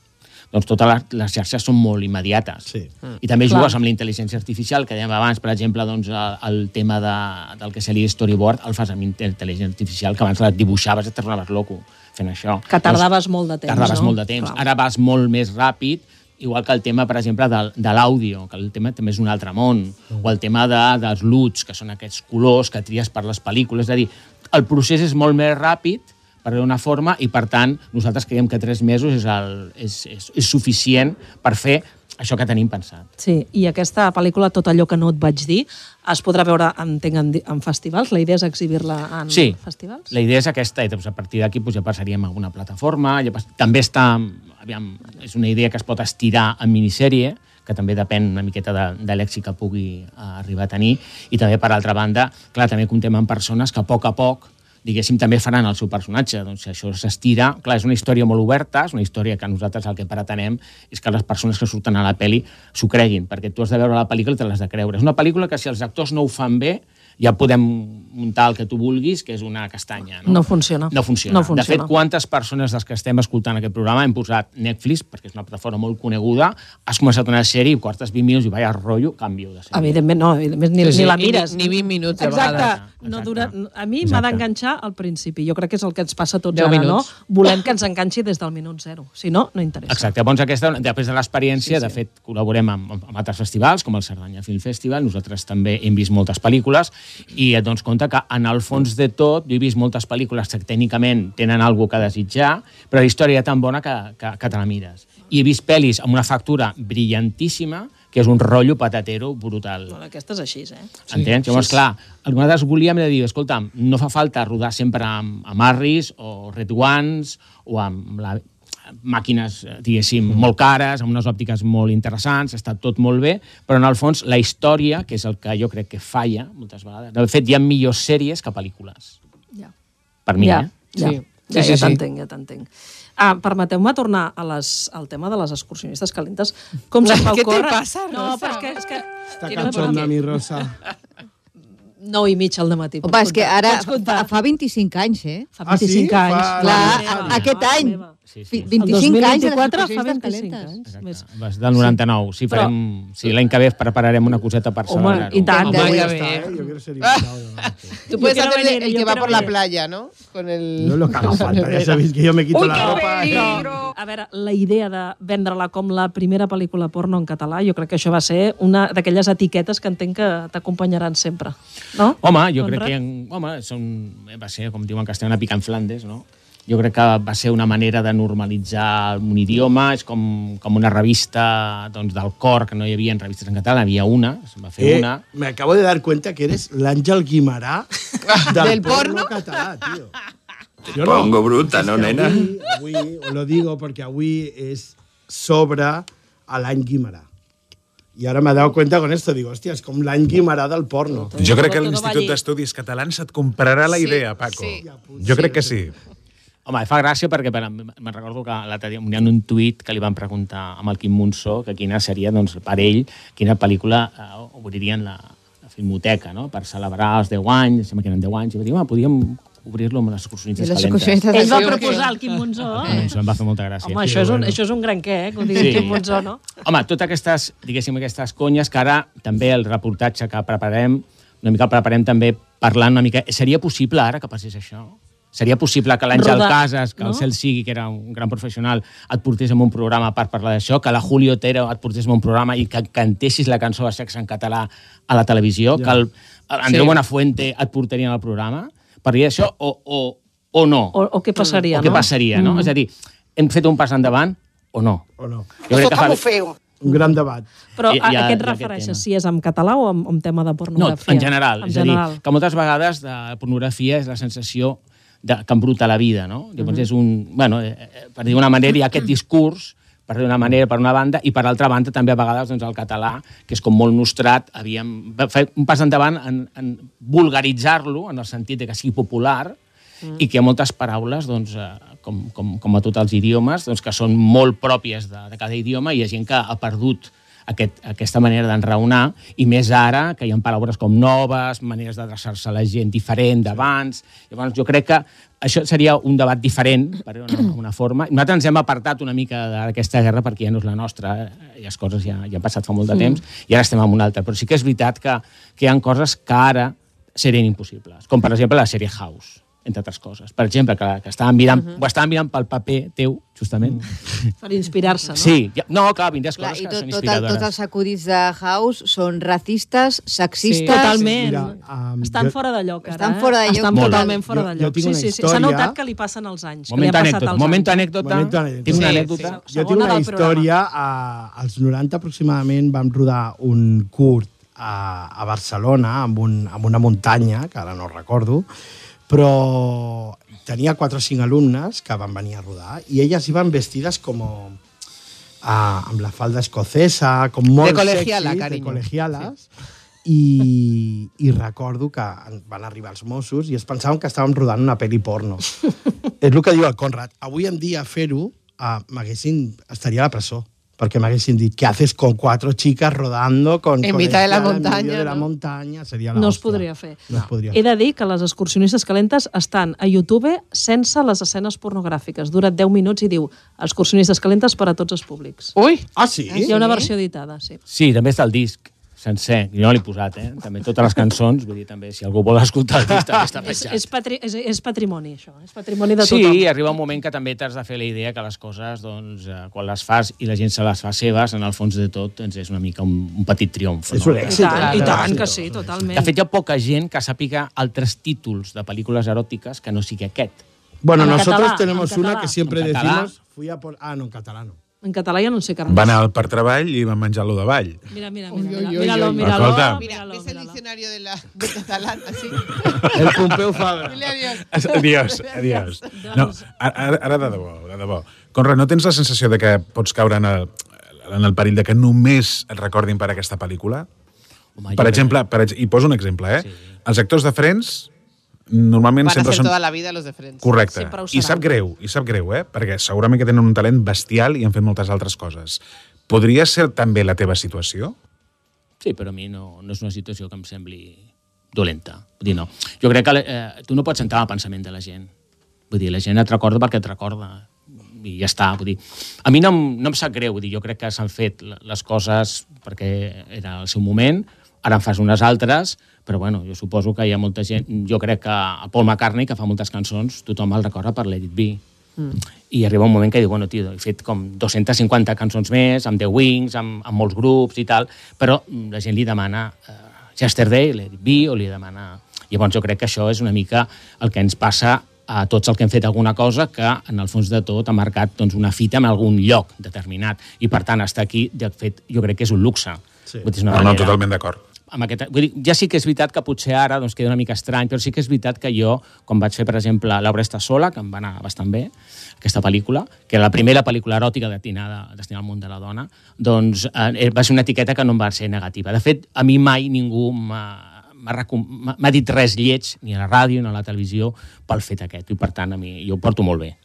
Speaker 8: doncs totes les, les xarxes són molt immediates.
Speaker 5: Sí.
Speaker 8: I també
Speaker 4: Mm. Clar.
Speaker 8: jugues amb la intel·ligència artificial, que dèiem abans, per exemple, doncs, el, el tema de, del que seria storyboard, el fas amb intel·ligència artificial, que abans la dibuixaves i et tornaves loco fent això.
Speaker 4: Que tardaves molt de temps,
Speaker 8: Tardaves
Speaker 4: no?
Speaker 8: molt de temps.
Speaker 4: Clar.
Speaker 8: Ara vas molt més ràpid, igual que el tema, per exemple, de, de l'àudio, que el tema també és un altre món, o el tema de, dels luts, que són aquests colors que tries per les pel·lícules. És a dir, el procés és molt més ràpid, per una forma, i per tant, nosaltres creiem que tres mesos és, el, és, és, és suficient per fer això que tenim pensat.
Speaker 4: Sí, i aquesta pel·lícula, tot allò que no et vaig dir, es podrà veure, entenc, en, di- en festivals? La idea és exhibir-la en
Speaker 8: Sí,
Speaker 4: festivals?
Speaker 8: la idea és aquesta, i doncs, a partir d'aquí doncs, ja passaríem a alguna plataforma, ja pas... també està, aviam, és una idea que es pot estirar en minissèrie, que també depèn una miqueta de, de l'èxit que pugui eh, arribar a tenir, i també, per altra banda, clar, també comptem amb persones que a poc a poc diguéssim, també faran el seu personatge. Doncs si això s'estira... Clar, és una història molt oberta, és una història que nosaltres el que pretenem és que les persones que surten a la pel·li s'ho creguin, perquè tu has de veure la pel·lícula i te l'has de creure. És una pel·lícula que si els actors no ho fan bé, ja podem muntar el que tu vulguis, que és una castanya. No,
Speaker 4: No funciona.
Speaker 8: no funciona.
Speaker 4: No funciona.
Speaker 8: De fet, quantes persones dels que estem escoltant aquest programa hem posat Netflix, perquè és una plataforma molt coneguda, has començat una sèrie i quartes 20 minuts i vaya rotllo, canvio de sèrie.
Speaker 4: Evidentment, no, evidentment, ni, sí, sí, ni la
Speaker 7: ni-
Speaker 4: mires.
Speaker 7: ni 20 minuts, a
Speaker 4: Exacte.
Speaker 7: vegades.
Speaker 4: No
Speaker 8: Exacte.
Speaker 4: dura, a mi m'ha
Speaker 8: Exacte.
Speaker 4: d'enganxar al principi. Jo crec que és el que ens passa a tots
Speaker 7: Deu
Speaker 4: ara,
Speaker 7: minuts.
Speaker 4: no? Volem que ens enganxi des del minut zero. Si no, no interessa.
Speaker 8: Exacte, llavors aquesta, després de l'experiència, sí, sí. de fet, col·laborem amb, amb altres festivals, com el Cerdanya Film Festival, nosaltres també hem vist moltes pel·lícules, i et dones compte que en el fons de tot, jo he vist moltes pel·lícules que tècnicament tenen alguna que desitjar, però la història era tan bona que, que, que te la mires. I he vist pel·lis amb una factura brillantíssima, que és un rotllo patatero brutal.
Speaker 4: Bueno, aquesta és així, eh?
Speaker 8: Entens? Sí, Llavors, clar, el que nosaltres volíem era dir, escolta'm, no fa falta rodar sempre amb, amb Harris o Red Ones o amb la, màquines, eh, diguéssim,
Speaker 4: Mm.
Speaker 8: molt cares, amb unes òptiques molt interessants, està tot molt bé, però en el fons la història, que és el que jo crec que falla moltes vegades, de fet hi ha millors sèries que pel·lícules.
Speaker 4: Ja.
Speaker 8: Per mi,
Speaker 4: ja,
Speaker 8: eh?
Speaker 4: ja.
Speaker 7: Sí.
Speaker 4: Ja,
Speaker 12: Sí,
Speaker 4: sí,
Speaker 12: sí,
Speaker 4: ja
Speaker 12: sí.
Speaker 4: t'entenc, ja t'entenc. Ah, Permeteu-me tornar a les, al tema de les excursionistes calentes. Com se'm va
Speaker 7: Què te
Speaker 4: ocórrer-
Speaker 7: passa, Rosa?
Speaker 4: No, perquè és que...
Speaker 5: Està
Speaker 4: Quiero-
Speaker 5: cachonda, mi
Speaker 4: <laughs>
Speaker 5: Rosa.
Speaker 4: 9 i mitja al matí.
Speaker 9: Opa, és que ara fa, fa 25 anys, eh? Fa
Speaker 4: Ah, sí? 25 anys. Fa-
Speaker 9: Clar,
Speaker 4: Ah,
Speaker 9: aquest
Speaker 4: mare
Speaker 9: any.
Speaker 4: meva.
Speaker 9: Fi-
Speaker 4: El
Speaker 9: 25 anys de les
Speaker 4: 2024 fa
Speaker 9: professions
Speaker 4: 25
Speaker 9: calentes.
Speaker 4: anys. Més.
Speaker 8: Vas del 99. Si,
Speaker 4: Però-
Speaker 8: farem, si l'any que ve prepararem una coseta per
Speaker 4: Home,
Speaker 8: celebrar
Speaker 4: i tant. Home,
Speaker 12: ya
Speaker 5: está,
Speaker 12: ves.
Speaker 5: ¿eh? Yo
Speaker 4: <laughs>
Speaker 5: quiero ser
Speaker 12: Ah.
Speaker 5: invitado. ¿no?
Speaker 12: Tú puedes
Speaker 7: quiero
Speaker 12: hacer el-
Speaker 7: venir,
Speaker 12: el
Speaker 7: yo
Speaker 12: que va
Speaker 7: quiero
Speaker 12: por la
Speaker 7: venir.
Speaker 12: playa, ¿no? Con el...
Speaker 5: No es lo que haga
Speaker 12: con
Speaker 5: falta,
Speaker 12: el-
Speaker 5: ya sabéis que yo me quito
Speaker 12: Uy,
Speaker 5: la
Speaker 12: qué
Speaker 5: ropa. y-
Speaker 4: Però, a veure, la idea de vendre-la com la primera pel·lícula porno en català, jo crec que això va ser una d'aquelles etiquetes que entenc que t'acompanyaran sempre. No?
Speaker 8: Home, jo crec
Speaker 4: Conrad?
Speaker 8: que hi ha- home, són, eh, va ser, com diuen en castellà, una pica en Flandes, no? Jo crec que va ser una manera de normalitzar un idioma, és com, com una revista doncs, del cor, que no hi havia revistes en català, n'hi havia una, se'n va fer
Speaker 5: Eh,
Speaker 8: una.
Speaker 5: me acabo de dar cuenta que eres l'Àngel <laughs> Guimarà del, porno, català, tio. Yo no.
Speaker 13: Pongo bruta, ¿no, nena?
Speaker 5: Avui, avui, lo digo porque avui es sobre a l'any Guimarà. Y ahora me he dado cuenta con esto, digo, hostia, es como l'any Guimarà del porno.
Speaker 6: Jo crec que l'Institut d'Estudis Catalans et comprarà la
Speaker 5: Sí,
Speaker 6: idea, Paco. Jo crec que sí.
Speaker 8: Home, fa gràcia perquè per, me'n recordo que l'altre dia hi ha un tuit que li van preguntar amb el Quim Monzó que quina seria, doncs, per ell, quina pel·lícula eh, obririen la, la filmoteca, no?, per celebrar els 10 anys, sembla que eren 10 anys, i va dir, home, podíem obrir-lo amb les excursionistes
Speaker 9: I les
Speaker 8: calentes.
Speaker 9: excursionistes
Speaker 4: Ell va proposar el Quim Monzó.
Speaker 8: Eh. Em va fer molta gràcia.
Speaker 4: Home, això és, un, això és un gran què, eh, que ho digui
Speaker 8: Sí.
Speaker 4: el Quim Monzó, no?
Speaker 8: Home, totes aquestes, diguéssim, aquestes conyes que ara també el reportatge que preparem, una mica el preparem també parlant una mica... Seria possible ara que passés això? Seria possible que l'Àngel
Speaker 12: Rodar,
Speaker 8: Casas, que
Speaker 12: no?
Speaker 8: el Cel sigui, que era un gran professional, et portés en un programa per parlar d'això, que la Julio Otero et portés en un programa i que cantessis la cançó de sexe en català a la televisió,
Speaker 12: Ja.
Speaker 8: que el Andreu
Speaker 12: Sí.
Speaker 8: sí. Buenafuente et portarien al programa? Parlaria d'això o, o, o no?
Speaker 4: O, o què passaria,
Speaker 8: o què
Speaker 4: no?
Speaker 8: passaria, no?
Speaker 4: Mm.
Speaker 8: És a dir, hem fet un pas endavant o no?
Speaker 5: O no.
Speaker 8: Jo crec que fa...
Speaker 5: feo. Un gran debat.
Speaker 4: Però
Speaker 8: Hi ha-
Speaker 4: a,
Speaker 8: hi ha
Speaker 4: a què et
Speaker 8: aquest
Speaker 4: refereixes? Si és en català o en, en tema de
Speaker 8: No,
Speaker 4: pornografia?
Speaker 8: en general.
Speaker 4: En
Speaker 8: és a
Speaker 4: general.
Speaker 8: dir, que moltes vegades de pornografia és la sensació de, que embruta la vida, no? Llavors
Speaker 12: Mhm.
Speaker 8: és un... Bueno, eh, eh, per dir d'una manera, hi ha aquest discurs per d'una manera, per una banda, i per l'altra banda també a vegades doncs, el català, que és com molt nostrat, havíem va fer un pas endavant en, en vulgaritzar-lo, en el sentit de que sigui popular, Mm. i que hi ha moltes paraules, doncs, eh, com, com, com a tots els idiomes, doncs, que són molt pròpies de, de cada idioma i hi ha gent que ha perdut aquest, aquesta manera d'enraonar i més ara que hi ha paraules com noves, maneres d'adreçar-se a la gent diferent d'abans. Llavors jo crec que això seria un debat diferent, per una, una forma. Nosaltres ens hem apartat una mica d'aquesta guerra perquè ja no és la nostra, eh, i les coses ja, ja han passat fa molt de
Speaker 12: Mm.
Speaker 8: temps i ara estem en una altra. Però sí que és veritat que, que hi ha coses que ara serien impossibles, com per exemple la sèrie House entre altres coses. Per exemple, que, que estàvem mirant,
Speaker 4: Mhm.
Speaker 8: uh -huh. ho estàvem mirant pel paper teu, justament.
Speaker 4: Per inspirar-se, no?
Speaker 8: <laughs> Sí, ja, no, clar, vindràs
Speaker 9: Clar,
Speaker 8: coses
Speaker 9: i
Speaker 8: que
Speaker 9: tot,
Speaker 8: són
Speaker 9: tot, el,
Speaker 8: inspiradores.
Speaker 9: tots els acudits de House són racistes, sexistes...
Speaker 4: Totalment. Estan fora de lloc, ara.
Speaker 9: Estan
Speaker 4: eh?
Speaker 9: fora de lloc.
Speaker 4: Estan
Speaker 8: Molt.
Speaker 4: totalment fora de
Speaker 8: Jo- jo
Speaker 4: lloc.
Speaker 8: tinc
Speaker 4: Sí,
Speaker 8: una
Speaker 4: sí, sí. S'ha
Speaker 8: història-
Speaker 4: notat que li passen els anys. que li ha
Speaker 8: Moment
Speaker 4: passat
Speaker 8: anècdota,
Speaker 4: als
Speaker 8: moment
Speaker 4: anys.
Speaker 8: anècdota. Tinc una
Speaker 5: Sí,
Speaker 8: anècdota.
Speaker 5: sí. Jo tinc una història. A, als 90 aproximadament vam rodar un curt a, a Barcelona, amb, un, amb una muntanya, que ara no recordo, però tenia 4 o 5 alumnes que van venir a rodar i elles iban vestides com a, amb la falda escocesa, com molt
Speaker 11: colegiala,
Speaker 5: sexy,
Speaker 11: cariño.
Speaker 5: de colegiales. I, i recordo que en- van arribar els Mossos i es pensaven que estàvem rodant una pel·li porno. És el que diu el Conrad. Avui en dia fer-ho ah, m'haguessin... estaria a la presó perquè m'haguessin dit què haces con cuatro chicas rodando con
Speaker 11: En
Speaker 5: con
Speaker 11: mitad de la
Speaker 5: esta en medio
Speaker 11: montaña,
Speaker 5: de la
Speaker 11: ¿no?
Speaker 5: montaña seria la
Speaker 4: No es
Speaker 5: hòstia.
Speaker 4: podria fer.
Speaker 5: no es podria
Speaker 4: He de dir que les excursionistes calentes estan a YouTube sense les escenes pornogràfiques. Dura 10 minuts i diu excursionistes calentes per a tots els públics.
Speaker 8: Ui!
Speaker 5: Ah, sí?
Speaker 4: Hi ha una versió editada, sí.
Speaker 8: Sí, també està el disc sencer. Jo no l'he posat, eh? També totes les cançons, vull dir, també, si algú vol escoltar el disc, també està
Speaker 4: <laughs> És,
Speaker 8: penjat.
Speaker 4: és, patri és, és patrimoni, això. eh? És patrimoni de
Speaker 8: sí,
Speaker 4: tothom.
Speaker 8: arriba un moment que també t'has de fer la idea que les coses, doncs, eh, quan les fas i la gent se les fa seves, en el fons de tot, doncs és una mica un, un petit triomf.
Speaker 5: És un èxit,
Speaker 4: I tant, i tant que eh? sí, totalment.
Speaker 8: De fet, hi ha poca gent que sàpiga altres títols de pel·lícules eròtiques que no sigui aquest.
Speaker 5: Bueno,
Speaker 8: En
Speaker 5: nosotros
Speaker 8: català,
Speaker 5: tenemos
Speaker 8: en
Speaker 5: una
Speaker 8: català.
Speaker 5: que siempre
Speaker 8: En català.
Speaker 5: decimos... Fui a por... Ah, no, en català no.
Speaker 4: En català ja no en sé cap
Speaker 6: Va
Speaker 4: més.
Speaker 6: anar per treball i va menjar lo de ball.
Speaker 4: Mira, mira, mira.
Speaker 12: Ui, ui,
Speaker 4: mira,
Speaker 12: ui,
Speaker 4: míralo,
Speaker 12: ui, ui.
Speaker 4: míralo,
Speaker 6: Escolta.
Speaker 4: míralo,
Speaker 12: Es el
Speaker 4: míralo.
Speaker 12: diccionario de la de catalán, así.
Speaker 5: El Pompeu Fabra.
Speaker 12: Dile adiós. Doncs-
Speaker 6: Adiós,
Speaker 12: <laughs>
Speaker 6: adiós. No, ara, ara de debò, de debò. Conrad, no tens la sensació de que pots caure en el, en el perill de que només et recordin per aquesta pel·lícula?
Speaker 8: Home,
Speaker 6: per
Speaker 8: jo crec-
Speaker 6: exemple, per, ex- i poso un exemple, eh? Sí. Els actors de Friends normalment
Speaker 12: Van a
Speaker 6: sempre
Speaker 12: ser
Speaker 6: són...
Speaker 12: tota la vida los de Friends.
Speaker 6: Correcte.
Speaker 12: Sempre ho
Speaker 6: I
Speaker 12: seran.
Speaker 6: sap greu, i sap greu, eh? Perquè segurament que tenen un talent bestial i han fet moltes altres coses. Podria ser també la teva situació?
Speaker 8: Sí, però a mi no, no és una situació que em sembli dolenta. Vull dir, no. Jo crec que eh, tu no pots entrar al pensament de la gent. Vull dir, la gent et recorda perquè et recorda. I ja està. Vull dir, a mi no, em- no em sap greu. Vull dir, jo crec que s'han fet l- les coses perquè era el seu moment, ara en fas unes altres, però bueno, jo suposo que hi ha molta gent... Jo crec que a Paul McCartney, que fa moltes cançons, tothom el recorda per Let It Be. I arriba un moment que diu, bueno, tio, he fet com 250 cançons més, amb The Wings, amb, amb molts grups i tal, però mm, la gent li demana eh, Yesterday, Let It Be, o li demana... Llavors jo crec que això és una mica el que ens passa a tots els que hem fet alguna cosa que, en el fons de tot, ha marcat doncs, una fita en algun lloc determinat. I, per tant, estar aquí, de fet, jo crec que és un luxe. Sí. Vull dir, és una
Speaker 6: Ah, No, no,
Speaker 8: manera-
Speaker 6: totalment d'acord.
Speaker 8: amb aquest, vull dir, ja sí que és veritat que potser ara doncs, queda una mica estrany, però sí que és veritat que jo, quan vaig fer, per exemple, L'obra està sola, que em va anar bastant bé, aquesta pel·lícula, que era la primera pel·lícula eròtica destinada, destinada al món de la dona, doncs eh, va ser una etiqueta que no em va ser negativa. De fet, a mi mai ningú m'ha m'ha recom- m'ha m'ha dit res lleig, ni a la ràdio, ni a la televisió, pel fet aquest. I, per tant, a mi jo ho porto molt bé.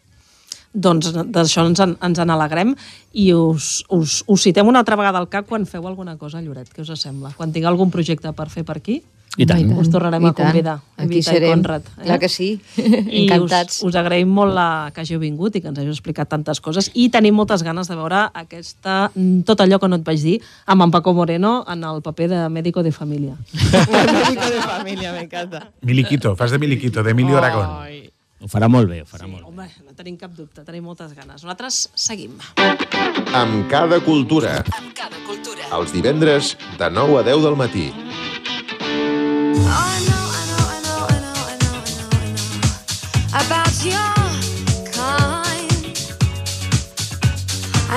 Speaker 4: Doncs d'això ens, en- ens en alegrem i us, us, us citem una altra vegada al cap quan feu alguna cosa, Lloret, què us sembla? Quan tingueu algun projecte per fer per aquí,
Speaker 8: I tant.
Speaker 4: us tornarem
Speaker 9: I
Speaker 4: a convidar.
Speaker 9: tant. Aquí
Speaker 4: Evita i
Speaker 9: serem.
Speaker 4: Conrad, eh?
Speaker 9: Clar que sí.
Speaker 4: I
Speaker 9: Encantats.
Speaker 4: Us, us agraïm molt la, que hàgiu vingut i que ens hàgiu explicat tantes coses i tenim moltes ganes de veure aquesta, mm, tot allò que no et vaig dir amb en Paco Moreno en el paper de médico de família.
Speaker 12: Un médico de familia, me encanta.
Speaker 6: Miliquito, fas de Miliquito,
Speaker 12: Oh,
Speaker 6: d'Emilio Aragón.
Speaker 8: Ho farà molt bé, ho farà sí. molt
Speaker 4: Home, no tenim cap dubte, tenim moltes ganes. Nosaltres seguim.
Speaker 1: Amb cada cultura. Els divendres de 9 a 10 del matí.
Speaker 13: Oh, about your kind.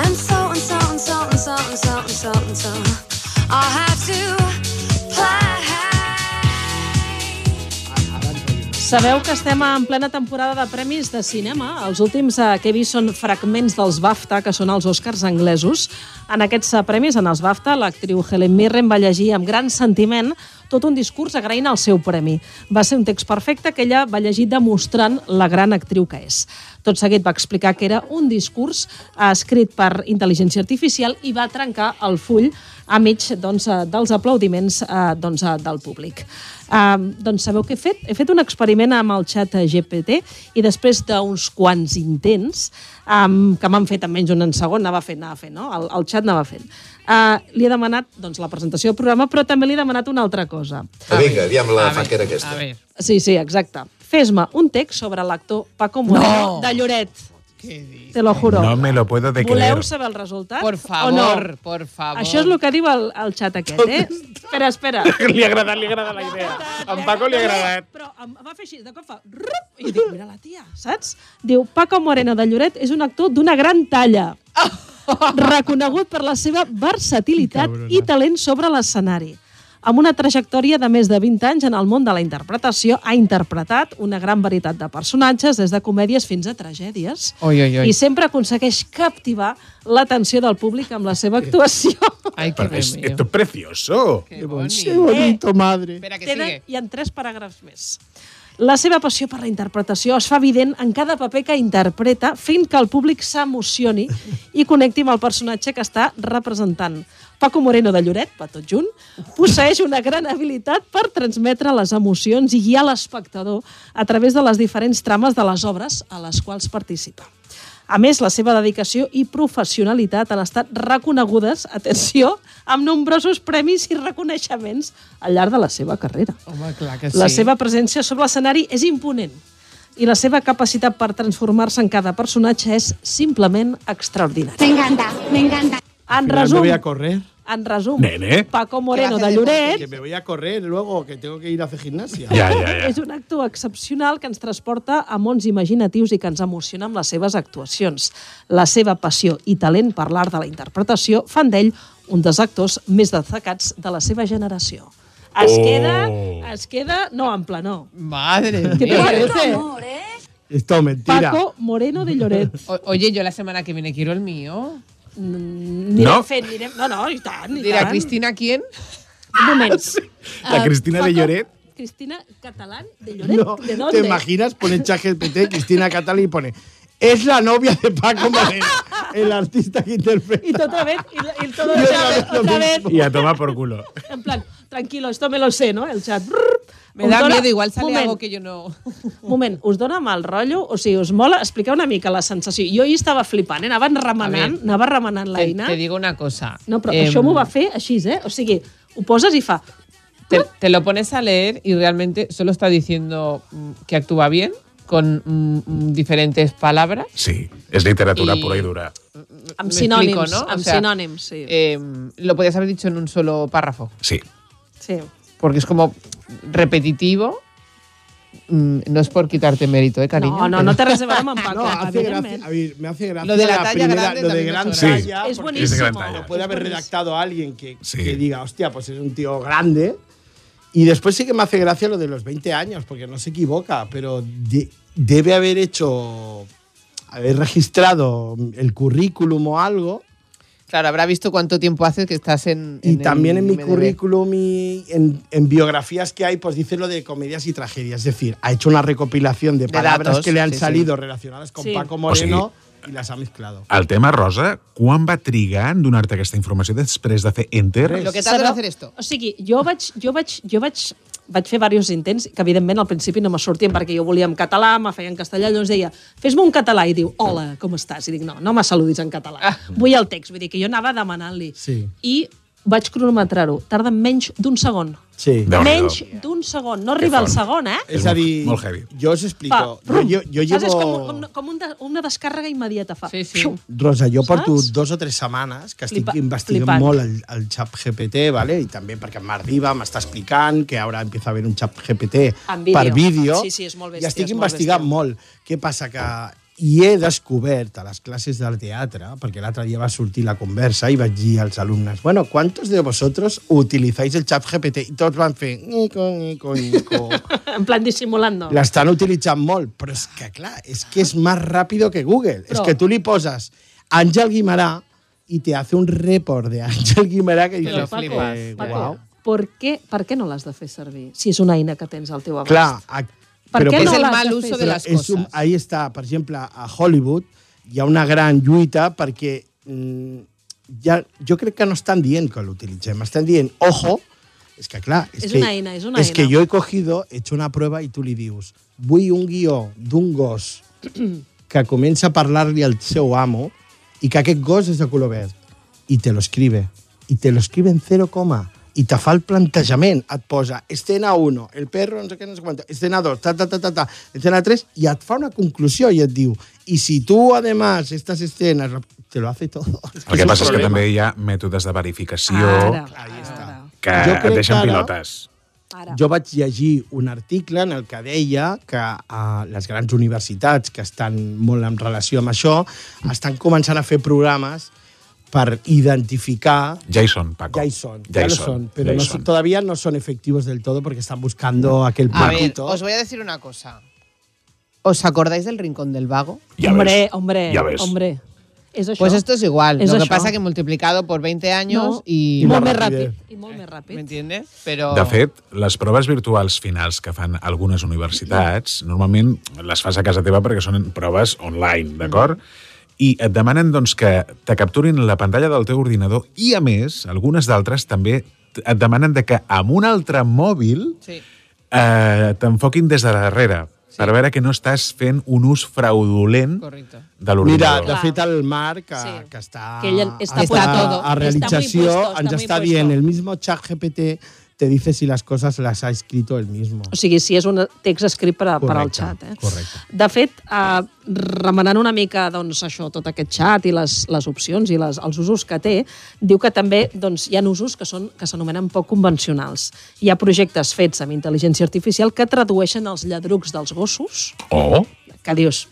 Speaker 13: And so and so and so and so and so and so and so. I'll have to play.
Speaker 4: Sabeu que estem en plena temporada de premis de cinema. Els últims eh, que he vist són fragments dels BAFTA, que són els Oscars anglesos. En aquests eh, premis, en els BAFTA, l'actriu Helen Mirren va llegir amb gran sentiment tot un discurs agraint el seu premi. Va ser un text perfecte que ella va llegir demostrant la gran actriu que és. Tot seguit va explicar que era un discurs eh, escrit per intel·ligència artificial i va trencar el full a mig doncs, eh, dels aplaudiments eh, doncs, eh, del públic. Eh, doncs sabeu què he fet? He fet un experiment amb el xat GPT i després d'uns quants intents, um, que m'han fet almenys un en segon, anava fent, anava fent, no? El, el xat anava fent. Uh, li he demanat doncs, la presentació del programa, però també li he demanat una altra cosa.
Speaker 1: Eh, Vinga, aviam la fanquera aquesta.
Speaker 4: Sí, sí, exacte. Fes-me un text sobre l'actor Paco Moreno no. de Lloret. Te lo juro.
Speaker 6: No me lo puedo de creer.
Speaker 4: Voleu saber el resultat?
Speaker 12: Por
Speaker 4: o no?
Speaker 12: favor, por favor.
Speaker 4: Això és el que diu el, el xat aquest,
Speaker 12: <laughs>
Speaker 4: eh? espera, espera.
Speaker 6: Li ha agradat, li ha agradat la idea. A en Paco li ha agradat.
Speaker 4: Però em va fer així, de cop fa... Rup, I dic, mira la tia, saps? Diu, Paco Moreno de Lloret és un actor d'una gran talla,
Speaker 12: <laughs>
Speaker 4: reconegut per la seva versatilitat i talent sobre l'escenari. Amb una trajectòria de més de 20 anys en el món de la interpretació, ha interpretat una gran varietat de personatges, des de comèdies fins a tragèdies,
Speaker 12: Oi, oi, oi.
Speaker 4: i sempre aconsegueix captivar l'atenció del públic amb la seva
Speaker 12: <laughs>
Speaker 4: actuació.
Speaker 12: Ay, qué
Speaker 6: Però és, esto es precioso.
Speaker 12: Qué bonito.
Speaker 5: madre.
Speaker 12: Espera, que
Speaker 4: Tenen,
Speaker 12: sigue.
Speaker 4: I en tres paràgrafs més. La seva passió per la interpretació es fa evident en cada paper que interpreta, fent que el públic s'emocioni i connecti amb el personatge que està representant. Paco Moreno de Lloret, va tot junt, posseix una gran habilitat per transmetre les emocions i guiar l'espectador a través de les diferents trames de les obres a les quals participa. A més, la seva dedicació i professionalitat han estat reconegudes, atenció, amb nombrosos premis i reconeixements al llarg de la seva carrera.
Speaker 12: Home, clar
Speaker 5: Eh,
Speaker 12: que sí.
Speaker 4: La seva presència sobre l'escenari és imponent i la seva capacitat per transformar-se en cada personatge és simplement extraordinària. M'encanta, m'encanta. Ah, En
Speaker 5: Me
Speaker 4: resum,
Speaker 5: voy a correr.
Speaker 4: en resum,
Speaker 5: Nene.
Speaker 4: Paco Moreno de Lloret
Speaker 5: Que me voy a correr luego, que tengo que ir a hacer gimnasia.
Speaker 4: <laughs> És un actor excepcional que ens transporta a mons imaginatius i que ens emociona amb les seves actuacions. La seva passió i talent per l'art de la interpretació fan d'ell un dels actors més destacats de la seva generació. Es
Speaker 5: Oh.
Speaker 4: queda, es queda, no, ample, no.
Speaker 12: Madre
Speaker 4: <laughs> ¿Qué te
Speaker 12: mía.
Speaker 4: parece?
Speaker 5: Esto es mentira.
Speaker 4: Paco Moreno de Lloret.
Speaker 12: O- oye, yo la semana que viene quiero el mío.
Speaker 4: Mm, Anirem fent, anirem... No, no, i tant, i
Speaker 12: Dirà,
Speaker 4: tant.
Speaker 12: Cristina, ¿quién?
Speaker 4: Un moment.
Speaker 6: La Cristina de Lloret.
Speaker 4: Cristina Catalán de Lloret.
Speaker 5: No,
Speaker 4: ¿De
Speaker 5: ¿Te
Speaker 4: dónde?
Speaker 5: imaginas? Pone ChatGPT, Cristina Catalí y pone. Es la novia de Paco Madero, el artista que interpreta.
Speaker 4: Y tú otra vez, y, la- y todo
Speaker 5: Y
Speaker 4: el
Speaker 5: otra
Speaker 4: chat,
Speaker 5: vez lo
Speaker 4: otra vez,
Speaker 5: mismo.
Speaker 6: I a tomar por culo.
Speaker 4: en plan, tranquilo, esto me lo sé, no? El chat. brrr,
Speaker 12: Me
Speaker 4: us
Speaker 12: da
Speaker 4: dona-
Speaker 12: miedo, igual sale
Speaker 4: moment,
Speaker 12: algo que yo no...
Speaker 4: Moment, us dona mal rotllo? O sigui, us mola? Expliqueu una mica la sensació. Jo hi estava flipant, eh? Anaven remenant, anava remenant
Speaker 12: Te,
Speaker 4: l'Aina.
Speaker 12: te digo una cosa.
Speaker 4: No, però
Speaker 12: Em,
Speaker 4: això m'ho va fer així, eh? O sigui, ho poses i fa...
Speaker 12: te, te lo pones a leer y realmente solo está diciendo mm, que actúa bien con mm, mm, diferentes palabras.
Speaker 6: Sí, es literatura
Speaker 12: I-
Speaker 6: pura y dura.
Speaker 4: Amb
Speaker 12: Me
Speaker 4: sinònims,
Speaker 12: explico, ¿no?
Speaker 4: amb
Speaker 12: O sea,
Speaker 4: sinònims, sí.
Speaker 12: eh, lo podías haber dicho en un solo párrafo,
Speaker 6: Sí.
Speaker 4: Sí.
Speaker 12: porque es como repetitivo. Mm, No es por quitarte mérito, ¿eh, cariño?
Speaker 4: No, no, no té res a veure amb en Paco,
Speaker 5: <laughs> No, hace
Speaker 4: evidentment.
Speaker 5: gracia. A ver, me hace gracia.
Speaker 12: Lo de la talla grande
Speaker 5: Lo de
Speaker 12: también me
Speaker 5: gran
Speaker 12: sobra.
Speaker 5: talla.
Speaker 12: Sí, es
Speaker 5: porque
Speaker 6: buenísimo. Es de gran talla.
Speaker 5: Lo puede
Speaker 6: Es
Speaker 5: haber
Speaker 6: buenísimo.
Speaker 5: redactado alguien que, que diga, hostia, pues es un tío grande. Y después sí que me hace gracia lo de los 20 años, porque no se equivoca, pero de- debe haber hecho. haber registrado el currículum o algo.
Speaker 12: Claro, habrá visto cuánto tiempo haces que estás en.
Speaker 5: Y también en mi
Speaker 12: IMDb.
Speaker 5: currículum y en, en biografías que hay, pues dice lo de comedias y tragedias. Es decir, ha hecho una recopilación de
Speaker 12: De
Speaker 5: palabras
Speaker 12: datos,
Speaker 5: que le han
Speaker 12: sí, sí.
Speaker 5: salido relacionadas con
Speaker 12: Sí.
Speaker 5: Paco
Speaker 6: O sigui,
Speaker 5: Moreno y las ha mezclado.
Speaker 6: El tema, Rosa, quan va trigar en donar-te aquesta informació després de fer enter?
Speaker 4: Sabeu- O sigui, jo vaig, jo vaig, jo vaig, vaig fer diversos intents que, evidentment, al principi no me sortien perquè jo volia en català, me feia en castellà, llavors deia, fes-me un català, i diu, hola, com estàs? I dic, no, no me saludis en català. Vull el text, vull dir que jo anava demanant-li.
Speaker 5: Sí.
Speaker 4: I vaig cronometrar-ho. Tarda menys d'un segon.
Speaker 5: Sí.
Speaker 4: menys d'un segon. No arriba al segon, eh?
Speaker 5: És a dir,
Speaker 6: molt heavy.
Speaker 5: jo us explico.
Speaker 4: Fa, brum.
Speaker 5: jo, jo, jo
Speaker 4: Saps? És com,
Speaker 5: llevo...
Speaker 4: com, com un de, una descàrrega immediata. Fa. Sí, sí.
Speaker 5: Rosa, jo porto dos o tres setmanes que estic
Speaker 4: Flipa-
Speaker 5: investigant
Speaker 4: flipant.
Speaker 5: molt el, el xap GPT, vale? i també perquè m'arriba, m'està explicant que ara empieza a haver un xap GPT
Speaker 4: En vídeo.
Speaker 5: per vídeo.
Speaker 4: Sí, sí, és molt bèstia,
Speaker 5: I estic
Speaker 4: és molt
Speaker 5: investigant molt, Què passa? Que i he descobert a les classes del teatre, perquè l'altre dia va sortir la conversa i vaig dir als alumnes, bueno, ¿cuántos de vosotros utilizáis el xap GPT? I tots van fer, nico,
Speaker 4: <laughs>
Speaker 5: nico, nico.
Speaker 4: <laughs> en plan dissimulando.
Speaker 5: La están utilizando molt, pero es que, claro, es que es más rápido que Google.
Speaker 4: Però-
Speaker 5: Es que tú le posas Ángel Guimará y te hace un report de Ángel Guimará que
Speaker 4: Però,
Speaker 5: dices,
Speaker 4: Paco,
Speaker 5: eh,
Speaker 4: Paco,
Speaker 5: guau.
Speaker 4: per, què, per què no l'has de fer servir? Si és una eina que tens al teu abast.
Speaker 5: Clar, a-
Speaker 4: Per
Speaker 5: però
Speaker 4: què
Speaker 5: per-
Speaker 4: no És el l'has mal de fer? uso de
Speaker 5: Però
Speaker 4: les
Speaker 5: és un-
Speaker 4: coses.
Speaker 5: ahí està, per exemple, a Hollywood hi ha una gran lluita perquè mm, ja, jo crec que no estan dient que l'utilitzem, estan dient, ojo, és que clar... És,
Speaker 4: És
Speaker 5: que,
Speaker 4: una eina, és una
Speaker 5: És que
Speaker 4: eina.
Speaker 5: jo he cogido, he hecho una prueba i tu li dius, vull un guió d'un
Speaker 4: <clears throat>
Speaker 5: gos que comença a parlar-li al seu amo i que aquest gos és de color verd i te lo escribe i te lo escribe en 0, coma i te fa el plantejament, et posa escena 1, el perro no sé què, no sé quant, escena 2, ta, ta, ta, ta, ta, escena 3 i et fa una conclusió i et diu i si tu, además, estas escenas te lo hace todo. <laughs>
Speaker 6: El que passa és que també hi ha mètodes de verificació
Speaker 5: Ara,
Speaker 4: Ah,
Speaker 6: que
Speaker 5: Jo
Speaker 6: et
Speaker 5: crec
Speaker 6: deixen
Speaker 5: que ara-
Speaker 6: pilotes.
Speaker 5: Jo vaig llegir un article en el que deia que a les grans universitats que estan molt en relació amb això estan començant a fer programes per identificar
Speaker 6: Jason, Paco.
Speaker 5: Ya hi son,
Speaker 6: Ya
Speaker 5: ya,
Speaker 6: hi
Speaker 5: lo
Speaker 6: son,
Speaker 5: son, pero
Speaker 6: ya hi
Speaker 5: no
Speaker 6: son.
Speaker 5: son- todavía no son efectivos del todo porque están buscando aquel
Speaker 12: A ver,
Speaker 5: platito.
Speaker 12: os voy a decir una cosa. ¿Os acordáis del Rincón del Vago?
Speaker 5: Ya
Speaker 4: hombre, hombre,
Speaker 5: Ya ves.
Speaker 4: hombre. És això.
Speaker 12: Pues esto es igual.
Speaker 4: És
Speaker 12: lo que
Speaker 4: això.
Speaker 12: pasa que multiplicado por 20 años
Speaker 4: No.
Speaker 12: y...
Speaker 4: I molt més ràpid.
Speaker 5: Eh,
Speaker 4: I molt més ràpid.
Speaker 12: ¿Me entiendes? Pero...
Speaker 6: De fet, les proves virtuals finals que fan algunes universitats, normalment les fas a casa teva perquè són proves online, d'acord?
Speaker 4: Mm-hmm.
Speaker 6: I et demanen doncs, que te capturin la pantalla del teu ordinador i, a més, algunes d'altres també t- et demanen de que amb un altre mòbil
Speaker 12: Sí.
Speaker 6: eh, t'enfoquin des de darrere sí. per veure que no estàs fent un ús fraudulent
Speaker 12: Correcto.
Speaker 6: de
Speaker 5: Mira,
Speaker 6: l'ordinador.
Speaker 5: de fet, el Marc, que, sí. que està,
Speaker 4: Que ell està
Speaker 5: està
Speaker 4: puesto.
Speaker 5: a realització,
Speaker 4: Està muy puesto,
Speaker 5: ens
Speaker 4: està muy
Speaker 5: està
Speaker 4: puesto.
Speaker 5: dient, el mismo chat GPT te dice si las cosas las ha escrito el mismo.
Speaker 4: O sigui, si és un text escrit per, a- per al
Speaker 5: Correcte,
Speaker 4: xat. Eh?
Speaker 5: Correcte.
Speaker 4: De fet, eh, remenant una mica doncs, això, tot aquest xat i les, les opcions i les, els usos que té, diu que també doncs, hi ha usos que són que s'anomenen poc convencionals. Hi ha projectes fets amb intel·ligència artificial que tradueixen els lladrucs dels gossos,
Speaker 6: Oh.
Speaker 4: que dius...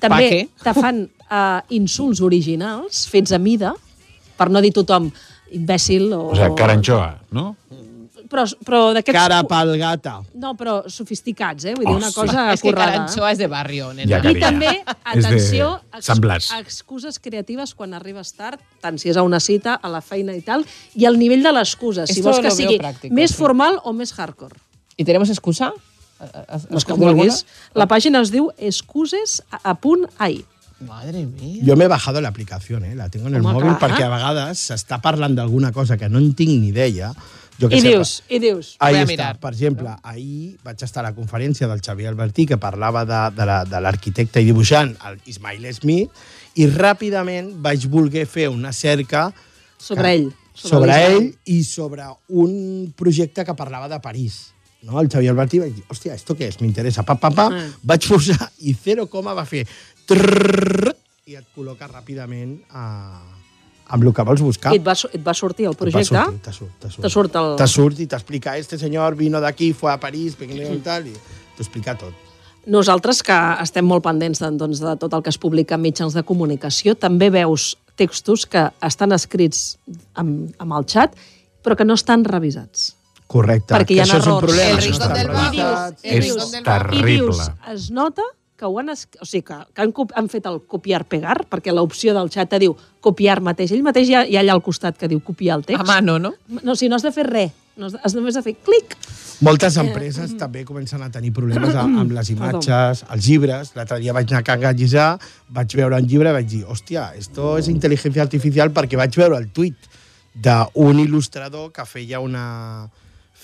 Speaker 12: Pa
Speaker 4: També
Speaker 12: què?
Speaker 4: te fan eh, insults originals fets a mida, per no dir tothom imbècil o...
Speaker 6: O sigui, caranxoa, no?
Speaker 4: Però, però d'aquests...
Speaker 5: Cara pel gata.
Speaker 4: No, però sofisticats, eh? Vull dir, una
Speaker 6: Hòstia.
Speaker 4: cosa
Speaker 12: Es que
Speaker 4: currada.
Speaker 12: Caranchoa es de barrio, nena.
Speaker 6: Ja,
Speaker 4: I
Speaker 6: carinyo.
Speaker 4: també,
Speaker 6: És de
Speaker 4: atenció, ex-
Speaker 6: Sant Blas.
Speaker 4: excuses creatives quan arribes tard, tant si és a una cita, a la feina i tal, i el nivell de l'excusa, si
Speaker 12: Esto
Speaker 4: vols que
Speaker 12: lo veo
Speaker 4: sigui
Speaker 12: práctico,
Speaker 4: més
Speaker 12: sí.
Speaker 4: formal o més hardcore.
Speaker 12: ¿Y tenemos excusa? ¿Has-
Speaker 4: Les
Speaker 12: has
Speaker 4: que
Speaker 12: cogido
Speaker 4: vulguis. La pàgina es diu excuses.ai.
Speaker 12: Madre mía.
Speaker 5: Jo m'he bajado la aplicació, eh? la tinc en el
Speaker 4: Home,
Speaker 5: mòbil,
Speaker 4: clar.
Speaker 5: perquè a vegades s'està parlant d'alguna cosa que no en tinc ni idea. Jo que
Speaker 4: I
Speaker 5: sé,
Speaker 4: dius, i dius.
Speaker 5: Ahí està. Per exemple, ahir vaig estar a la conferència del Xavier Albertí que parlava de, de la- de l'arquitecte i dibuixant, el Ismail Smith, i ràpidament vaig voler fer una cerca
Speaker 4: Sobre ell.
Speaker 5: sobre, sobre
Speaker 4: l'Ismael.
Speaker 5: ell i sobre un projecte que parlava de París. No? El Xavier Albertí vaig dir, hòstia, esto què és? M'interessa. Pa, pa, pa.
Speaker 4: Ah.
Speaker 5: Vaig forçar i 0, va fer trrrr, i et col·loca ràpidament a, amb el que vols buscar.
Speaker 4: I et va, su- et va sortir el projecte?
Speaker 5: sortir, te surt, te surt.
Speaker 4: Te surt el...
Speaker 5: Te surt i t'explica, este senyor vino d'aquí, fue a París, i tal, i t'ho explica tot.
Speaker 4: Nosaltres, que estem molt pendents de, doncs, de tot el que es publica en mitjans de comunicació, també veus textos que estan escrits amb, amb el xat, però que no estan revisats.
Speaker 5: Correcte.
Speaker 4: Perquè hi ha
Speaker 5: que això és un
Speaker 4: errors. El
Speaker 5: problema. això està
Speaker 4: Rincón del
Speaker 5: regulat.
Speaker 4: Vago. I dius-
Speaker 6: És terrible.
Speaker 4: I dius, es nota que ho han... Es... O sigui, que, que han, cop- han fet el copiar-pegar, perquè l'opció del xat te diu copiar mateix. Ell mateix hi ha, hi ha allà al costat que diu copiar el text.
Speaker 12: A mano, no?
Speaker 4: No, o sigui, no has de fer res. No has, has només de fer clic. Eh,
Speaker 5: Moltes empreses
Speaker 4: mm.
Speaker 5: també comencen a tenir
Speaker 4: <clears throat>
Speaker 5: problemes a- amb les imatges, els llibres. L'altre dia vaig anar a Can Gallissà, vaig veure un llibre i vaig dir, hòstia, esto és intel·ligència artificial perquè vaig veure el tuit d'un il·lustrador que feia una,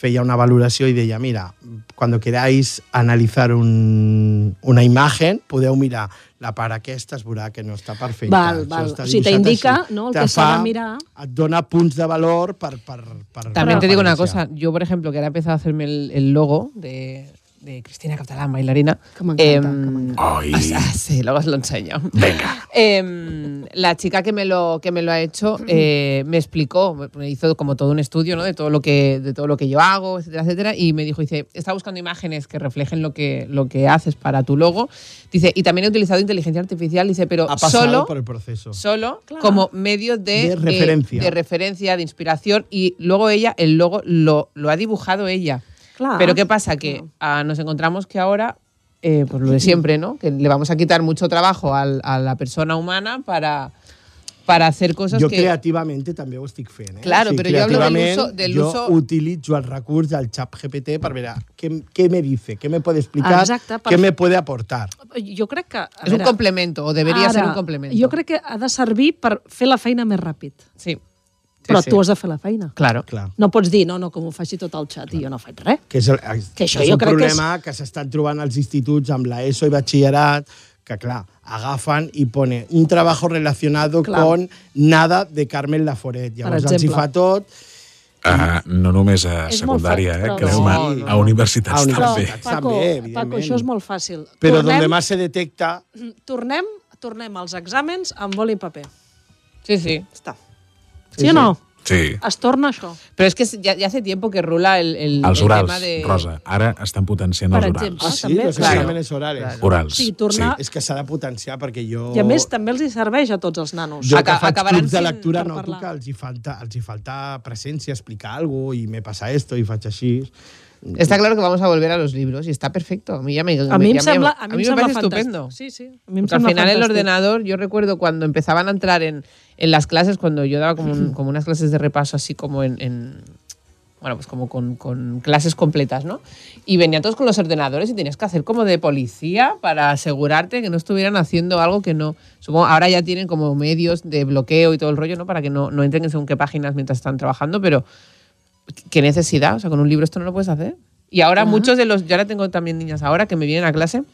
Speaker 5: feia una valoració i deia, mira, cuando queráis analizar un, una imagen, podeu mirar la part aquesta, es veurà que no està perfecta.
Speaker 4: val,
Speaker 5: Això
Speaker 4: val.
Speaker 5: està
Speaker 4: O sigui,
Speaker 5: dibuixat
Speaker 4: t'indica
Speaker 5: així.
Speaker 4: no, el
Speaker 5: Te
Speaker 4: que s'ha
Speaker 5: fa-
Speaker 4: de mirar.
Speaker 5: Et dona punts de valor per... per, per
Speaker 12: También te digo una
Speaker 5: referència.
Speaker 12: cosa. Yo, por ejemplo, que ahora he empezado a hacerme el, el logo de, de Cristina Catalán, bailarina. em, Ah,
Speaker 4: Como
Speaker 12: sí, luego os lo enseño. Venga. la chica que me lo, que me lo ha hecho
Speaker 4: Mm.
Speaker 12: eh, me explicó, me hizo como todo un estudio ¿no? de, todo lo que, de todo lo que yo hago, etcétera, etcétera. Y me dijo, dice, está buscando imágenes que reflejen lo que, lo que haces para tu logo. Dice, y también he utilizado inteligencia artificial, dice, pero
Speaker 5: Ha pasado
Speaker 12: solo
Speaker 5: por el proceso.
Speaker 12: solo como medio de, eh,
Speaker 5: De referencia.
Speaker 12: de referencia, de inspiración. Y luego ella, el logo lo, lo ha dibujado ella.
Speaker 4: Clar.
Speaker 12: Pero ¿qué pasa? Que ah, nos encontramos que ahora, eh, pues lo de siempre, ¿no? Que le vamos a quitar mucho trabajo al- a la persona humana para, para hacer cosas
Speaker 5: jo
Speaker 12: que.
Speaker 5: creativament també ho estic fent. Eh?
Speaker 12: Claro, però jo hablo del
Speaker 5: creativament
Speaker 12: uso- del
Speaker 5: jo
Speaker 12: uso-
Speaker 5: utilitzo el recurs del xap GPT per veure què, què me dice, què me puede explicar,
Speaker 4: Exacte, per-
Speaker 5: què me puede aportar.
Speaker 4: Jo crec que... a
Speaker 12: Es un
Speaker 4: veure,
Speaker 12: complemento, o debería
Speaker 4: ara,
Speaker 12: ser un complemento.
Speaker 4: Jo crec que ha de servir per fer la feina més ràpid.
Speaker 12: Sí.
Speaker 4: Però
Speaker 12: sí.
Speaker 4: tu has de fer la feina.
Speaker 12: Claro.
Speaker 5: Clar.
Speaker 4: No pots dir, no, no, com ho faci tot el xat i jo no faig res.
Speaker 5: Que és, el,
Speaker 4: Que això
Speaker 5: és
Speaker 4: jo
Speaker 5: un
Speaker 4: crec que és-
Speaker 5: problema que s'estan trobant als instituts amb l'ESO i batxillerat, que clar, agafen i pone un trabajo relacionado
Speaker 4: Clar.
Speaker 5: con nada de Carmen Laforet. Llavors els hi
Speaker 4: exemple.
Speaker 5: fa tot
Speaker 6: Ah, no només a
Speaker 4: Mm. És molt
Speaker 6: secundària,
Speaker 4: fort,
Speaker 6: eh?
Speaker 4: però-
Speaker 6: Creume,
Speaker 4: No,
Speaker 5: no.
Speaker 6: a universitats
Speaker 5: A
Speaker 6: també.
Speaker 5: universitats.
Speaker 4: Paco,
Speaker 5: també,
Speaker 4: Paco,
Speaker 5: evidentment.
Speaker 4: això és molt fàcil.
Speaker 5: Però
Speaker 4: tornem,
Speaker 5: donde más se detecta...
Speaker 4: tornem, tornem als exàmens amb boli i paper.
Speaker 12: Sí, sí.
Speaker 4: Està. Sí, o no?
Speaker 6: Sí.
Speaker 4: Es torna això.
Speaker 12: Pero es que ya, ya hace tiempo que rula el, el-
Speaker 6: Els
Speaker 12: el
Speaker 6: orals,
Speaker 12: tema de.
Speaker 6: Rosa. Ara estan potenciant
Speaker 4: Per
Speaker 6: els
Speaker 4: exemple,
Speaker 6: orals.
Speaker 5: Ah, sí?
Speaker 4: també,
Speaker 5: Los
Speaker 4: claro.
Speaker 5: exámenes orales.
Speaker 6: Orals,
Speaker 4: Sí, tornar- sí.
Speaker 5: És que s'ha de potenciar perquè jo...
Speaker 4: I a més també els hi serveix a tots els nanos.
Speaker 5: Jo que faig clubs de lectura
Speaker 4: per
Speaker 5: no
Speaker 4: parlar.
Speaker 5: que els hi, falta, els hi falta presència, explicar alguna cosa, i me passa esto, i faig així.
Speaker 12: Está claro que vamos a volver a los libros y está perfecto. A mí ya me,
Speaker 4: A mi em
Speaker 12: ya me-
Speaker 4: sembla,
Speaker 12: a
Speaker 4: a
Speaker 12: mí
Speaker 4: mi em
Speaker 12: me
Speaker 4: sembla
Speaker 12: parece
Speaker 4: fantàstic.
Speaker 12: estupendo.
Speaker 4: Sí, sí. A mi em
Speaker 12: Porque al
Speaker 4: sembla
Speaker 12: final el
Speaker 4: fantàstic.
Speaker 12: ordenador, yo recuerdo cuando empezaban a entrar en, en las clases, cuando yo daba como, un- como unas clases de repaso así como en... en- bueno, pues como con, con clases completas, ¿no? Y venían todos con los ordenadores y tenías que hacer como de policía para asegurarte que no estuvieran haciendo algo que no... Supongo, ahora ya tienen como medios de bloqueo y todo el rollo, ¿no? Para que no, no entren en según qué páginas mientras están trabajando, pero qué necesidad, o sea, con un libro esto no lo puedes hacer. Y ahora muchos de los, yo ahora tengo también niñas ahora que me vienen a clase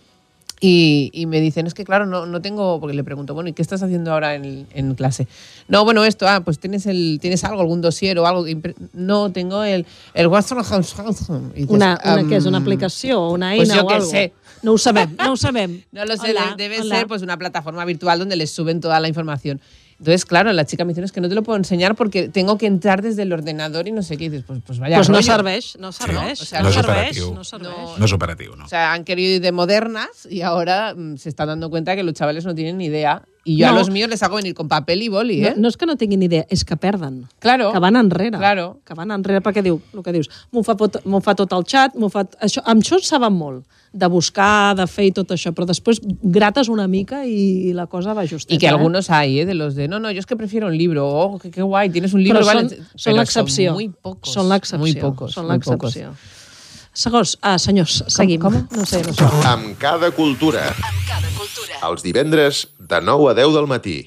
Speaker 12: y, y me dicen, es que claro, no, no tengo, porque le pregunto, bueno, ¿y qué estás haciendo ahora en, en clase? No, bueno, esto, ah, pues tienes, el, tienes algo, algún dossier o algo. que impre- No, tengo el, el WhatsApp. Y dices,
Speaker 4: Una, una
Speaker 12: "Am,
Speaker 4: que és una aplicació o una
Speaker 12: pues jo
Speaker 4: eina o
Speaker 12: què
Speaker 4: alguna
Speaker 12: sé.
Speaker 4: No ho sabem, no ho sabem.
Speaker 12: No lo sé,
Speaker 4: Hola,
Speaker 12: de- debe
Speaker 4: hola.
Speaker 12: ser pues una plataforma virtual donde les suben toda la información. Entonces, claro, la chica me dice, "No, es que no te lo puedo enseñar porque tengo que entrar desde el ordenador y no sé qué. Y dices, pues, pues vaya
Speaker 4: Pues Doncs no
Speaker 12: rollo".
Speaker 4: serveix, no serveix.
Speaker 12: o sea,
Speaker 6: no
Speaker 4: no
Speaker 6: és
Speaker 4: serveix,
Speaker 6: operatiu.
Speaker 4: no serveix.
Speaker 6: No és operatiu, no.
Speaker 12: O sea, han querido ir de modernas y ahora mm, se están dando cuenta que los chavales no tienen ni idea. Y yo a
Speaker 4: No.
Speaker 12: los míos les hago venir con papel y boli,
Speaker 4: No,
Speaker 12: ¿eh?
Speaker 4: no és que no tinguin idea, és que perden.
Speaker 12: Claro.
Speaker 4: Que van enrere.
Speaker 12: Claro.
Speaker 4: Que van enrere perquè diu, el que dius, m'ho fa, pot- m'ho fa tot el xat, m'ho fa... Això, amb això en saben molt, de buscar, de fer i tot això, però després grates una mica i, la cosa va justeta.
Speaker 12: Y que
Speaker 4: eh?
Speaker 12: algunos hay, ¿eh? De los de, no, no, yo es que prefiero un libro. Oh, qué, qué guay, tienes un libro.
Speaker 4: Però
Speaker 12: vale.
Speaker 4: són,
Speaker 12: Pero
Speaker 4: són l'excepció.
Speaker 12: Son muy pocos.
Speaker 4: Són l'excepció.
Speaker 12: Muy pocos.
Speaker 4: Són
Speaker 12: muy pocos.
Speaker 4: l'excepció. Segons, ah, senyors, seguim. Com? No sé, no sé.
Speaker 1: Amb cada cultura. Amb cada cultura. Els divendres de 9 a 10 del matí.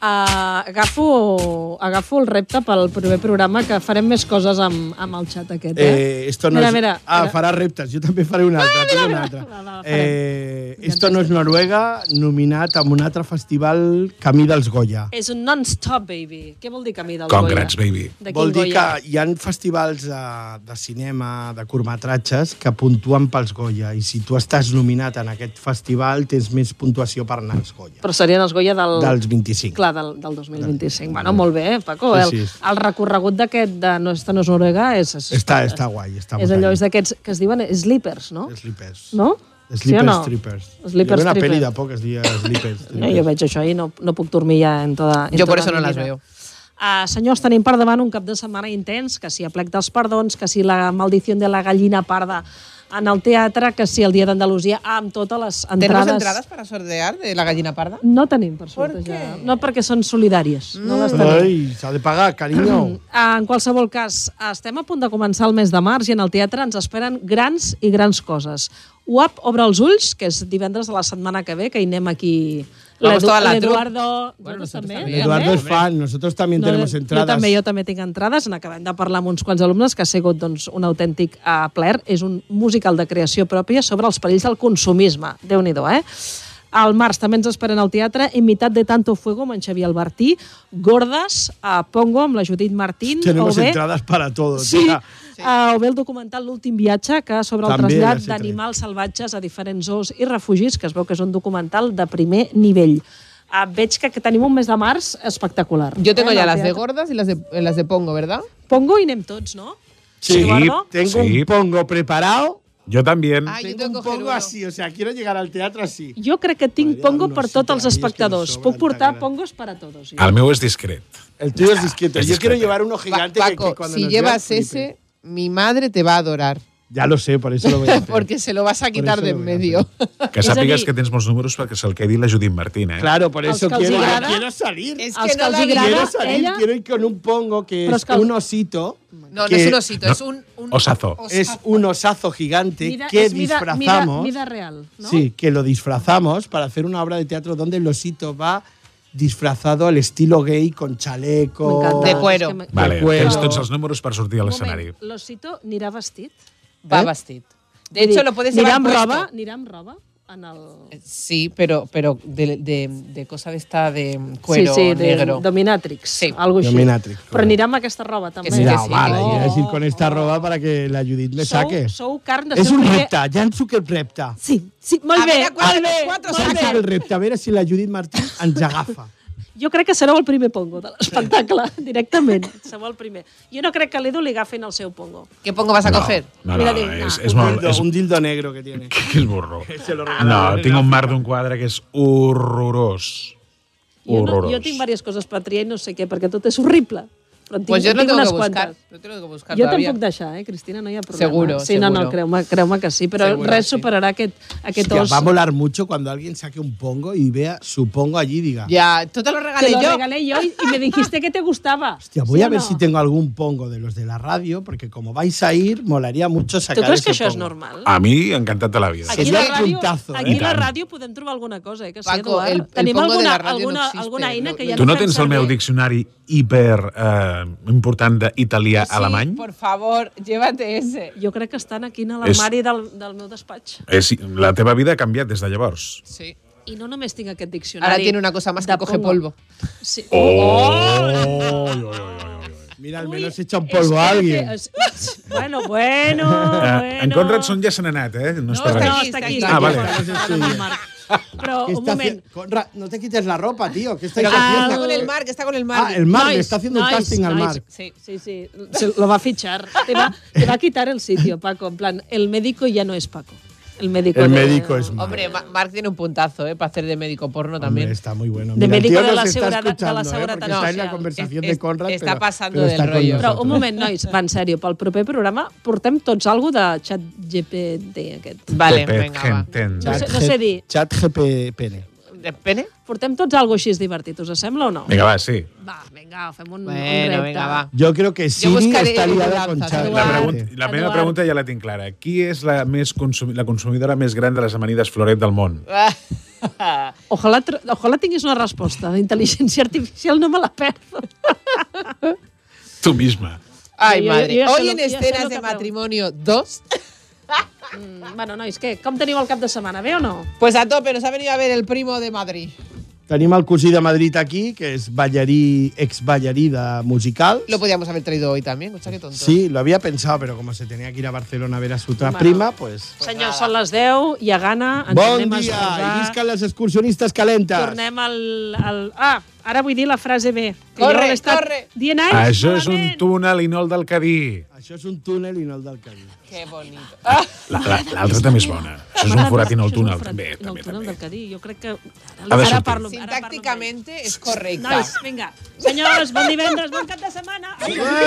Speaker 4: Uh, agafo, agafo el repte pel primer programa que farem més coses amb, amb el xat aquest. Eh?
Speaker 5: Eh, esto no
Speaker 4: mira,
Speaker 5: es...
Speaker 4: mira,
Speaker 5: ah,
Speaker 4: mira.
Speaker 5: farà reptes. Jo també faré una altra. Ah, una altra. eh, esto no és Noruega, nominat a un altre festival Camí dels Goya.
Speaker 4: És un non-stop, baby. Què vol dir camí del
Speaker 5: Congrats,
Speaker 4: Goya?
Speaker 6: baby.
Speaker 4: De quin
Speaker 5: Vol dir que
Speaker 4: Goya?
Speaker 5: hi han festivals de, de cinema, de curtmetratges, que puntuen pels Goya, i si tu estàs nominat en aquest festival, tens més puntuació per anar als Goya.
Speaker 4: Però serien els Goya del...
Speaker 5: Dels 25.
Speaker 4: Oh. Clar, del, del 2025. Bueno, molt bé, eh, Paco.
Speaker 5: Sí,
Speaker 4: El,
Speaker 5: sí.
Speaker 4: el recorregut d'aquest de No Esta no és Noruega és... és
Speaker 5: Està, està guai, està
Speaker 4: és allò, és d'aquests que es diuen sleepers, no?
Speaker 5: Sleepers.
Speaker 4: No?
Speaker 5: Sleepers,
Speaker 4: sí o no?
Speaker 5: Trippers. Hi
Speaker 4: Sleepers,
Speaker 5: havia una
Speaker 4: Trippers.
Speaker 5: pel·li de poc que es deia Sleepers.
Speaker 4: <laughs> No, jo veig això i no, no puc dormir ja en toda, en
Speaker 12: Yo
Speaker 4: toda
Speaker 12: por eso no
Speaker 4: mi
Speaker 12: las
Speaker 4: vida.
Speaker 12: veo.
Speaker 4: Ah, senyors, tenim per davant un cap de setmana intens, que si a plec dels perdons, que si la maldició de la gallina parda en el teatre, que si el Dia d'Andalusia, amb totes les entrades...
Speaker 12: ¿Tenemos entradas para sortear de la gallina parda?
Speaker 4: No tenim, per sort, ja. No perquè són solidàries.
Speaker 5: Mm.
Speaker 4: No les tenim.
Speaker 5: Ai, s'ha de pagar,
Speaker 4: <clears throat>
Speaker 5: carinyo.
Speaker 4: En qualsevol cas, estem a punt de començar el mes de març i en el teatre ens esperen grans i grans coses. UAP obre els ulls, que és divendres de la setmana que ve, que hi anem aquí...
Speaker 5: Vamos toda la trup.
Speaker 4: L'Eduardo... Bueno, també,
Speaker 12: ¿eh?
Speaker 5: Eduardo es fan, nosotros también tenemos
Speaker 4: jo-
Speaker 5: entradas.
Speaker 4: Jo també, jo també tinc entrades. En acabem de parlar amb uns quants alumnes que ha sigut doncs, un autèntic uh, plaer. És un musical de creació pròpia sobre els perills del consumisme. déu nhi eh? Al març també ens esperen al teatre Imitat de Tanto Fuego amb en Xavier Albertí, Gordes, a Pongo amb la Judit Martín,
Speaker 5: Tenemos
Speaker 4: o bé,
Speaker 5: entradas para
Speaker 4: <laughs>
Speaker 5: todo,
Speaker 4: Sí.
Speaker 5: tía.
Speaker 4: uh, o bé el documental L'últim viatge, que sobre el
Speaker 5: També
Speaker 4: trasllat
Speaker 5: l'he tret.
Speaker 4: d'animals salvatges a diferents zoos i refugis, que es veu que és un documental de primer nivell. Uh, veig que, que tenim un mes de març espectacular.
Speaker 12: Yo tengo
Speaker 4: Eh,
Speaker 12: ya
Speaker 4: en el
Speaker 12: las de
Speaker 4: teatre.
Speaker 12: gordas y las de, eh, las de pongo, ¿verdad?
Speaker 4: Pongo y anem tots, ¿no?
Speaker 5: Sí,
Speaker 4: Eduardo?
Speaker 5: tengo un pongo preparado.
Speaker 6: Yo también.
Speaker 5: tengo un pongo así, o sea, quiero llegar al teatro así.
Speaker 4: Jo crec que tinc pongo per tots els espectadors. Puc portar pongos per a tots.
Speaker 6: El meu és discret.
Speaker 5: El tuyo es discreto. Ah, Yo quiero llevar uno gigante que-
Speaker 12: Paco,
Speaker 5: que cuando
Speaker 12: si
Speaker 5: nos
Speaker 12: llevas
Speaker 5: veas,
Speaker 12: ese, mi madre te va a adorar.
Speaker 5: Ya lo sé, por eso lo voy a hacer.
Speaker 12: Porque se lo vas a quitar
Speaker 5: eso
Speaker 12: de
Speaker 5: lo
Speaker 12: en
Speaker 5: voy a
Speaker 12: medio.
Speaker 6: Que sàpigues que tens molts números perquè se'l quedi la Judit Martín, eh?
Speaker 5: Claro, por eso
Speaker 6: Els que els
Speaker 5: quiero,
Speaker 6: agrada-
Speaker 5: yo quiero salir.
Speaker 12: Es
Speaker 4: Els que que no els la vi. agrada,
Speaker 5: quiero salir,
Speaker 4: ella-
Speaker 5: quiero ir con un pongo que
Speaker 4: Però
Speaker 5: es
Speaker 4: és que el-
Speaker 5: un osito.
Speaker 12: No, no
Speaker 5: que-
Speaker 12: es un osito, es un, un-
Speaker 6: Osazo.
Speaker 5: Es un osazo gigante que disfrazamos.
Speaker 4: Vida, vida real. ¿no?
Speaker 5: Sí, que lo disfrazamos para hacer una obra de teatro donde el osito va disfrazado al estilo gay con chaleco.
Speaker 4: Me encanta. De cuero. Es que me-
Speaker 6: Vale,
Speaker 5: de cuero.
Speaker 6: tens tots els números per sortir a l'escenari.
Speaker 4: L'Osito anirà vestit.
Speaker 12: va vestit.
Speaker 4: ¿Eh?
Speaker 12: De hecho, lo puedes llevar
Speaker 4: llevar amb
Speaker 12: puesto. Eh,
Speaker 4: roba, anirà amb roba en el...
Speaker 12: Sí, pero, pero de, de- de cosa de esta de cuero
Speaker 4: sí, sí, de
Speaker 12: negro.
Speaker 4: dominatrix. Sí. Algo així.
Speaker 5: Dominatrix,
Speaker 4: Però anirà amb aquesta roba, també.
Speaker 5: Pues
Speaker 4: Oh,
Speaker 5: Mira, vale, iba a decir con esta roba para que la Judith me
Speaker 4: Sou,
Speaker 5: saque.
Speaker 4: sou carn de
Speaker 5: Es
Speaker 4: ser
Speaker 5: un
Speaker 4: primer-
Speaker 5: repta, Jan Zucker repta.
Speaker 4: Sí, sí, molt
Speaker 12: A
Speaker 4: bé.
Speaker 12: veure quants
Speaker 4: molt
Speaker 12: dels
Speaker 4: bé,
Speaker 12: quatre
Speaker 4: molt
Speaker 5: Saca
Speaker 4: bé.
Speaker 5: el repte, a veure si la Judit Martín ens agafa.
Speaker 4: Jo crec que sereu el primer pongo de l'espectacle, directament. <laughs> Sereu el primer. Jo no crec que a l'Edu li agafin el seu pongo.
Speaker 12: ¿Qué pongo vas a
Speaker 6: No,
Speaker 12: coger?
Speaker 6: No, no,
Speaker 4: Mira, Ah,
Speaker 6: no,
Speaker 4: dic,
Speaker 6: és,
Speaker 4: no.
Speaker 6: és
Speaker 5: un,
Speaker 6: molt...
Speaker 5: dildo,
Speaker 6: És,
Speaker 5: un dildo negro que tiene.
Speaker 6: <laughs> que és burro.
Speaker 5: Se lo
Speaker 6: No,
Speaker 5: regalaron en
Speaker 6: tinc un marc d'un quadre que és horrorós.
Speaker 4: Jo, no,
Speaker 6: Horrorós.
Speaker 4: jo tinc diverses coses per triar i no sé què, perquè tot és horrible. Però en tinc,
Speaker 12: Pues yo
Speaker 4: en
Speaker 12: lo
Speaker 4: tinc
Speaker 12: tengo que
Speaker 4: unes
Speaker 12: buscar.
Speaker 4: quantes.
Speaker 12: Lo tengo que buscar
Speaker 4: Jo te'n
Speaker 12: todavía.
Speaker 4: puc deixar, eh, Cristina, no hi ha problema.
Speaker 12: Seguro,
Speaker 4: sí, No,
Speaker 12: seguro.
Speaker 4: no, creu-me creu que sí, però
Speaker 12: Seguro,
Speaker 4: res superarà aquest, aquest
Speaker 5: Hostia,
Speaker 4: os.
Speaker 5: va a volar mucho cuando alguien saque un pongo y vea su pongo allí y diga,
Speaker 12: Ya, tú te lo regalé
Speaker 4: Te lo
Speaker 12: yo.
Speaker 4: regalé yo y, y me dijiste que te gustaba.
Speaker 5: Hostia, voy
Speaker 4: ¿Sí
Speaker 5: a
Speaker 4: o
Speaker 5: ver
Speaker 4: no?
Speaker 5: si tengo algún pongo de los de la radio, porque como vais a ir, molaría mucho sacar
Speaker 4: ¿Tú crees que
Speaker 5: ese
Speaker 4: això és
Speaker 5: pongo. Ah,
Speaker 4: normal?
Speaker 6: A mi, encantat de la vida.
Speaker 4: Aquí a la ràdio,
Speaker 5: puntazo, eh?
Speaker 4: aquí a
Speaker 6: I
Speaker 4: la
Speaker 6: tant.
Speaker 4: ràdio podem trobar alguna cosa, eh? Que sí,
Speaker 12: Paco,
Speaker 4: Eduard.
Speaker 12: el- el
Speaker 4: Tenim
Speaker 12: pongo de
Speaker 4: alguna,
Speaker 12: la ràdio no
Speaker 4: alguna,
Speaker 12: existe,
Speaker 4: alguna eina que ja
Speaker 6: Tu no
Speaker 4: fem
Speaker 6: tens el
Speaker 4: servir.
Speaker 6: meu diccionari hiper eh, important d'italià-alemany?
Speaker 12: Por favor, llévate ese.
Speaker 4: Jo crec que estan aquí a
Speaker 6: És-
Speaker 4: l'armari del, del meu despatx.
Speaker 6: Eh, sí, la teva vida ha canviat des de llavors.
Speaker 12: Sí.
Speaker 4: I no només tinc aquest diccionari.
Speaker 12: Ahora tiene una cosa más que
Speaker 4: de
Speaker 12: coge
Speaker 4: pongo.
Speaker 12: polvo.
Speaker 4: Sí.
Speaker 5: Oh. Mira, al menos echa un polvo a alguien. Ah,
Speaker 4: Es- es- Bueno, bueno,
Speaker 6: Eh, en
Speaker 4: bueno.
Speaker 6: Conrad Son ja se n'ha anat, eh? No, està
Speaker 4: no,
Speaker 6: res.
Speaker 4: està aquí.
Speaker 6: Ah, vale.
Speaker 4: Però
Speaker 5: ¿Qué
Speaker 4: un Ah,
Speaker 5: está
Speaker 4: moment.
Speaker 5: haci- Conra- no te quites la ropa, tío. ¿Qué estáis
Speaker 12: Pero que está
Speaker 5: haciendo?
Speaker 12: con el mar, que está con el mar.
Speaker 5: Ah, el mar, le
Speaker 4: Nois,
Speaker 5: está haciendo un
Speaker 4: nois,
Speaker 5: casting al
Speaker 4: nois.
Speaker 5: mar.
Speaker 4: Sí, sí, sí. Se lo va a fichar. Te va, te va a quitar el sitio, Paco. En plan, el médico ya no es Paco. El médico,
Speaker 5: El
Speaker 4: de-
Speaker 5: médico es Marc.
Speaker 12: Hombre, Ma- Marc tiene un puntazo, ¿eh? Para hacer de médico porno
Speaker 5: Hombre, este
Speaker 12: también.
Speaker 5: está muy bueno.
Speaker 4: De
Speaker 5: Mira, el
Speaker 4: médico
Speaker 5: tío
Speaker 4: de
Speaker 5: nos
Speaker 4: la
Speaker 5: está
Speaker 4: seguridad- de la
Speaker 5: escuchando, ¿eh?
Speaker 4: seguridad
Speaker 5: Porque está en la
Speaker 4: social.
Speaker 5: conversación
Speaker 12: Es-
Speaker 5: de Conrad.
Speaker 12: está
Speaker 5: pero-
Speaker 12: pasando
Speaker 5: pero
Speaker 12: del
Speaker 5: está con
Speaker 12: rollo.
Speaker 4: Però
Speaker 5: nosotros.
Speaker 4: un moment, nois, va en sèrio. Pel proper programa portem tots algo de xat GPT aquest.
Speaker 12: Vale,
Speaker 6: Pepet
Speaker 12: venga, va.
Speaker 6: Genten.
Speaker 4: No sé, no sé dir.
Speaker 5: Chat GP pene.
Speaker 12: de pene?
Speaker 4: Portem tots algo així divertit, us sembla o no?
Speaker 6: Vinga, va, sí.
Speaker 4: Va, vinga, fem un,
Speaker 12: Bueno,
Speaker 4: un repte.
Speaker 12: vinga, va.
Speaker 5: Yo creo que Siri
Speaker 12: buscaré
Speaker 5: está liada con
Speaker 12: mudanzas.
Speaker 5: Xavi.
Speaker 6: La, pregunta, la primera
Speaker 4: Eduard.
Speaker 6: pregunta ja la tinc clara. Qui és la, més consumi la consumidora més gran de les amanides Floret del món?
Speaker 4: Ojalà, tr- ojalà tinguis una resposta d'intel·ligència artificial, no me la perdo.
Speaker 6: Tu misma.
Speaker 12: Ay,
Speaker 4: Yo- yo-
Speaker 12: madre.
Speaker 4: yo ya sé
Speaker 12: Hoy
Speaker 4: lo-
Speaker 12: en
Speaker 4: yo ya sé lo
Speaker 12: escenas
Speaker 4: que
Speaker 12: de
Speaker 4: pregunto.
Speaker 12: matrimonio 2.
Speaker 4: Mm, bueno, nois, què? Com teniu el cap de setmana? Bé o no?
Speaker 12: Pues a tope, nos ha venido a ver el primo de Madrid.
Speaker 5: Tenim el cosí de Madrid aquí, que es ballarí, ex ballarí de musical.
Speaker 12: Lo podíamos haber traído hoy también, escucha qué tonto.
Speaker 5: Sí, lo había pensado, pero como se tenía que ir a Barcelona a ver a su otra
Speaker 4: Bueno.
Speaker 5: prima, pues...
Speaker 4: Senyor, són les 10 i a gana ens
Speaker 5: Bon
Speaker 4: anem a
Speaker 5: dia!
Speaker 4: esmorzar.
Speaker 5: I visquen les excursionistes calentes!
Speaker 4: Tornem al, al... Ah, ara vull dir la frase bé. que
Speaker 12: Corre,
Speaker 4: jo l'he estat
Speaker 12: corre.
Speaker 4: Dient anys,
Speaker 6: Això és un túnel i no el del Cadí.
Speaker 5: Això és un túnel i no el del camí.
Speaker 12: Qué bonito.
Speaker 6: La- la- L'altra també és bona. Això és un forat i no el túnel, també.
Speaker 4: No, el túnel del Cadí, jo crec que...
Speaker 6: Ha
Speaker 4: Ara,
Speaker 6: de
Speaker 4: ara
Speaker 6: sortir.
Speaker 4: parlo, ara parlo amb ells.
Speaker 12: Sintácticamente es correcta.
Speaker 4: Nois, vinga. Senyors, bon divendres, bon cap de setmana. Adiós.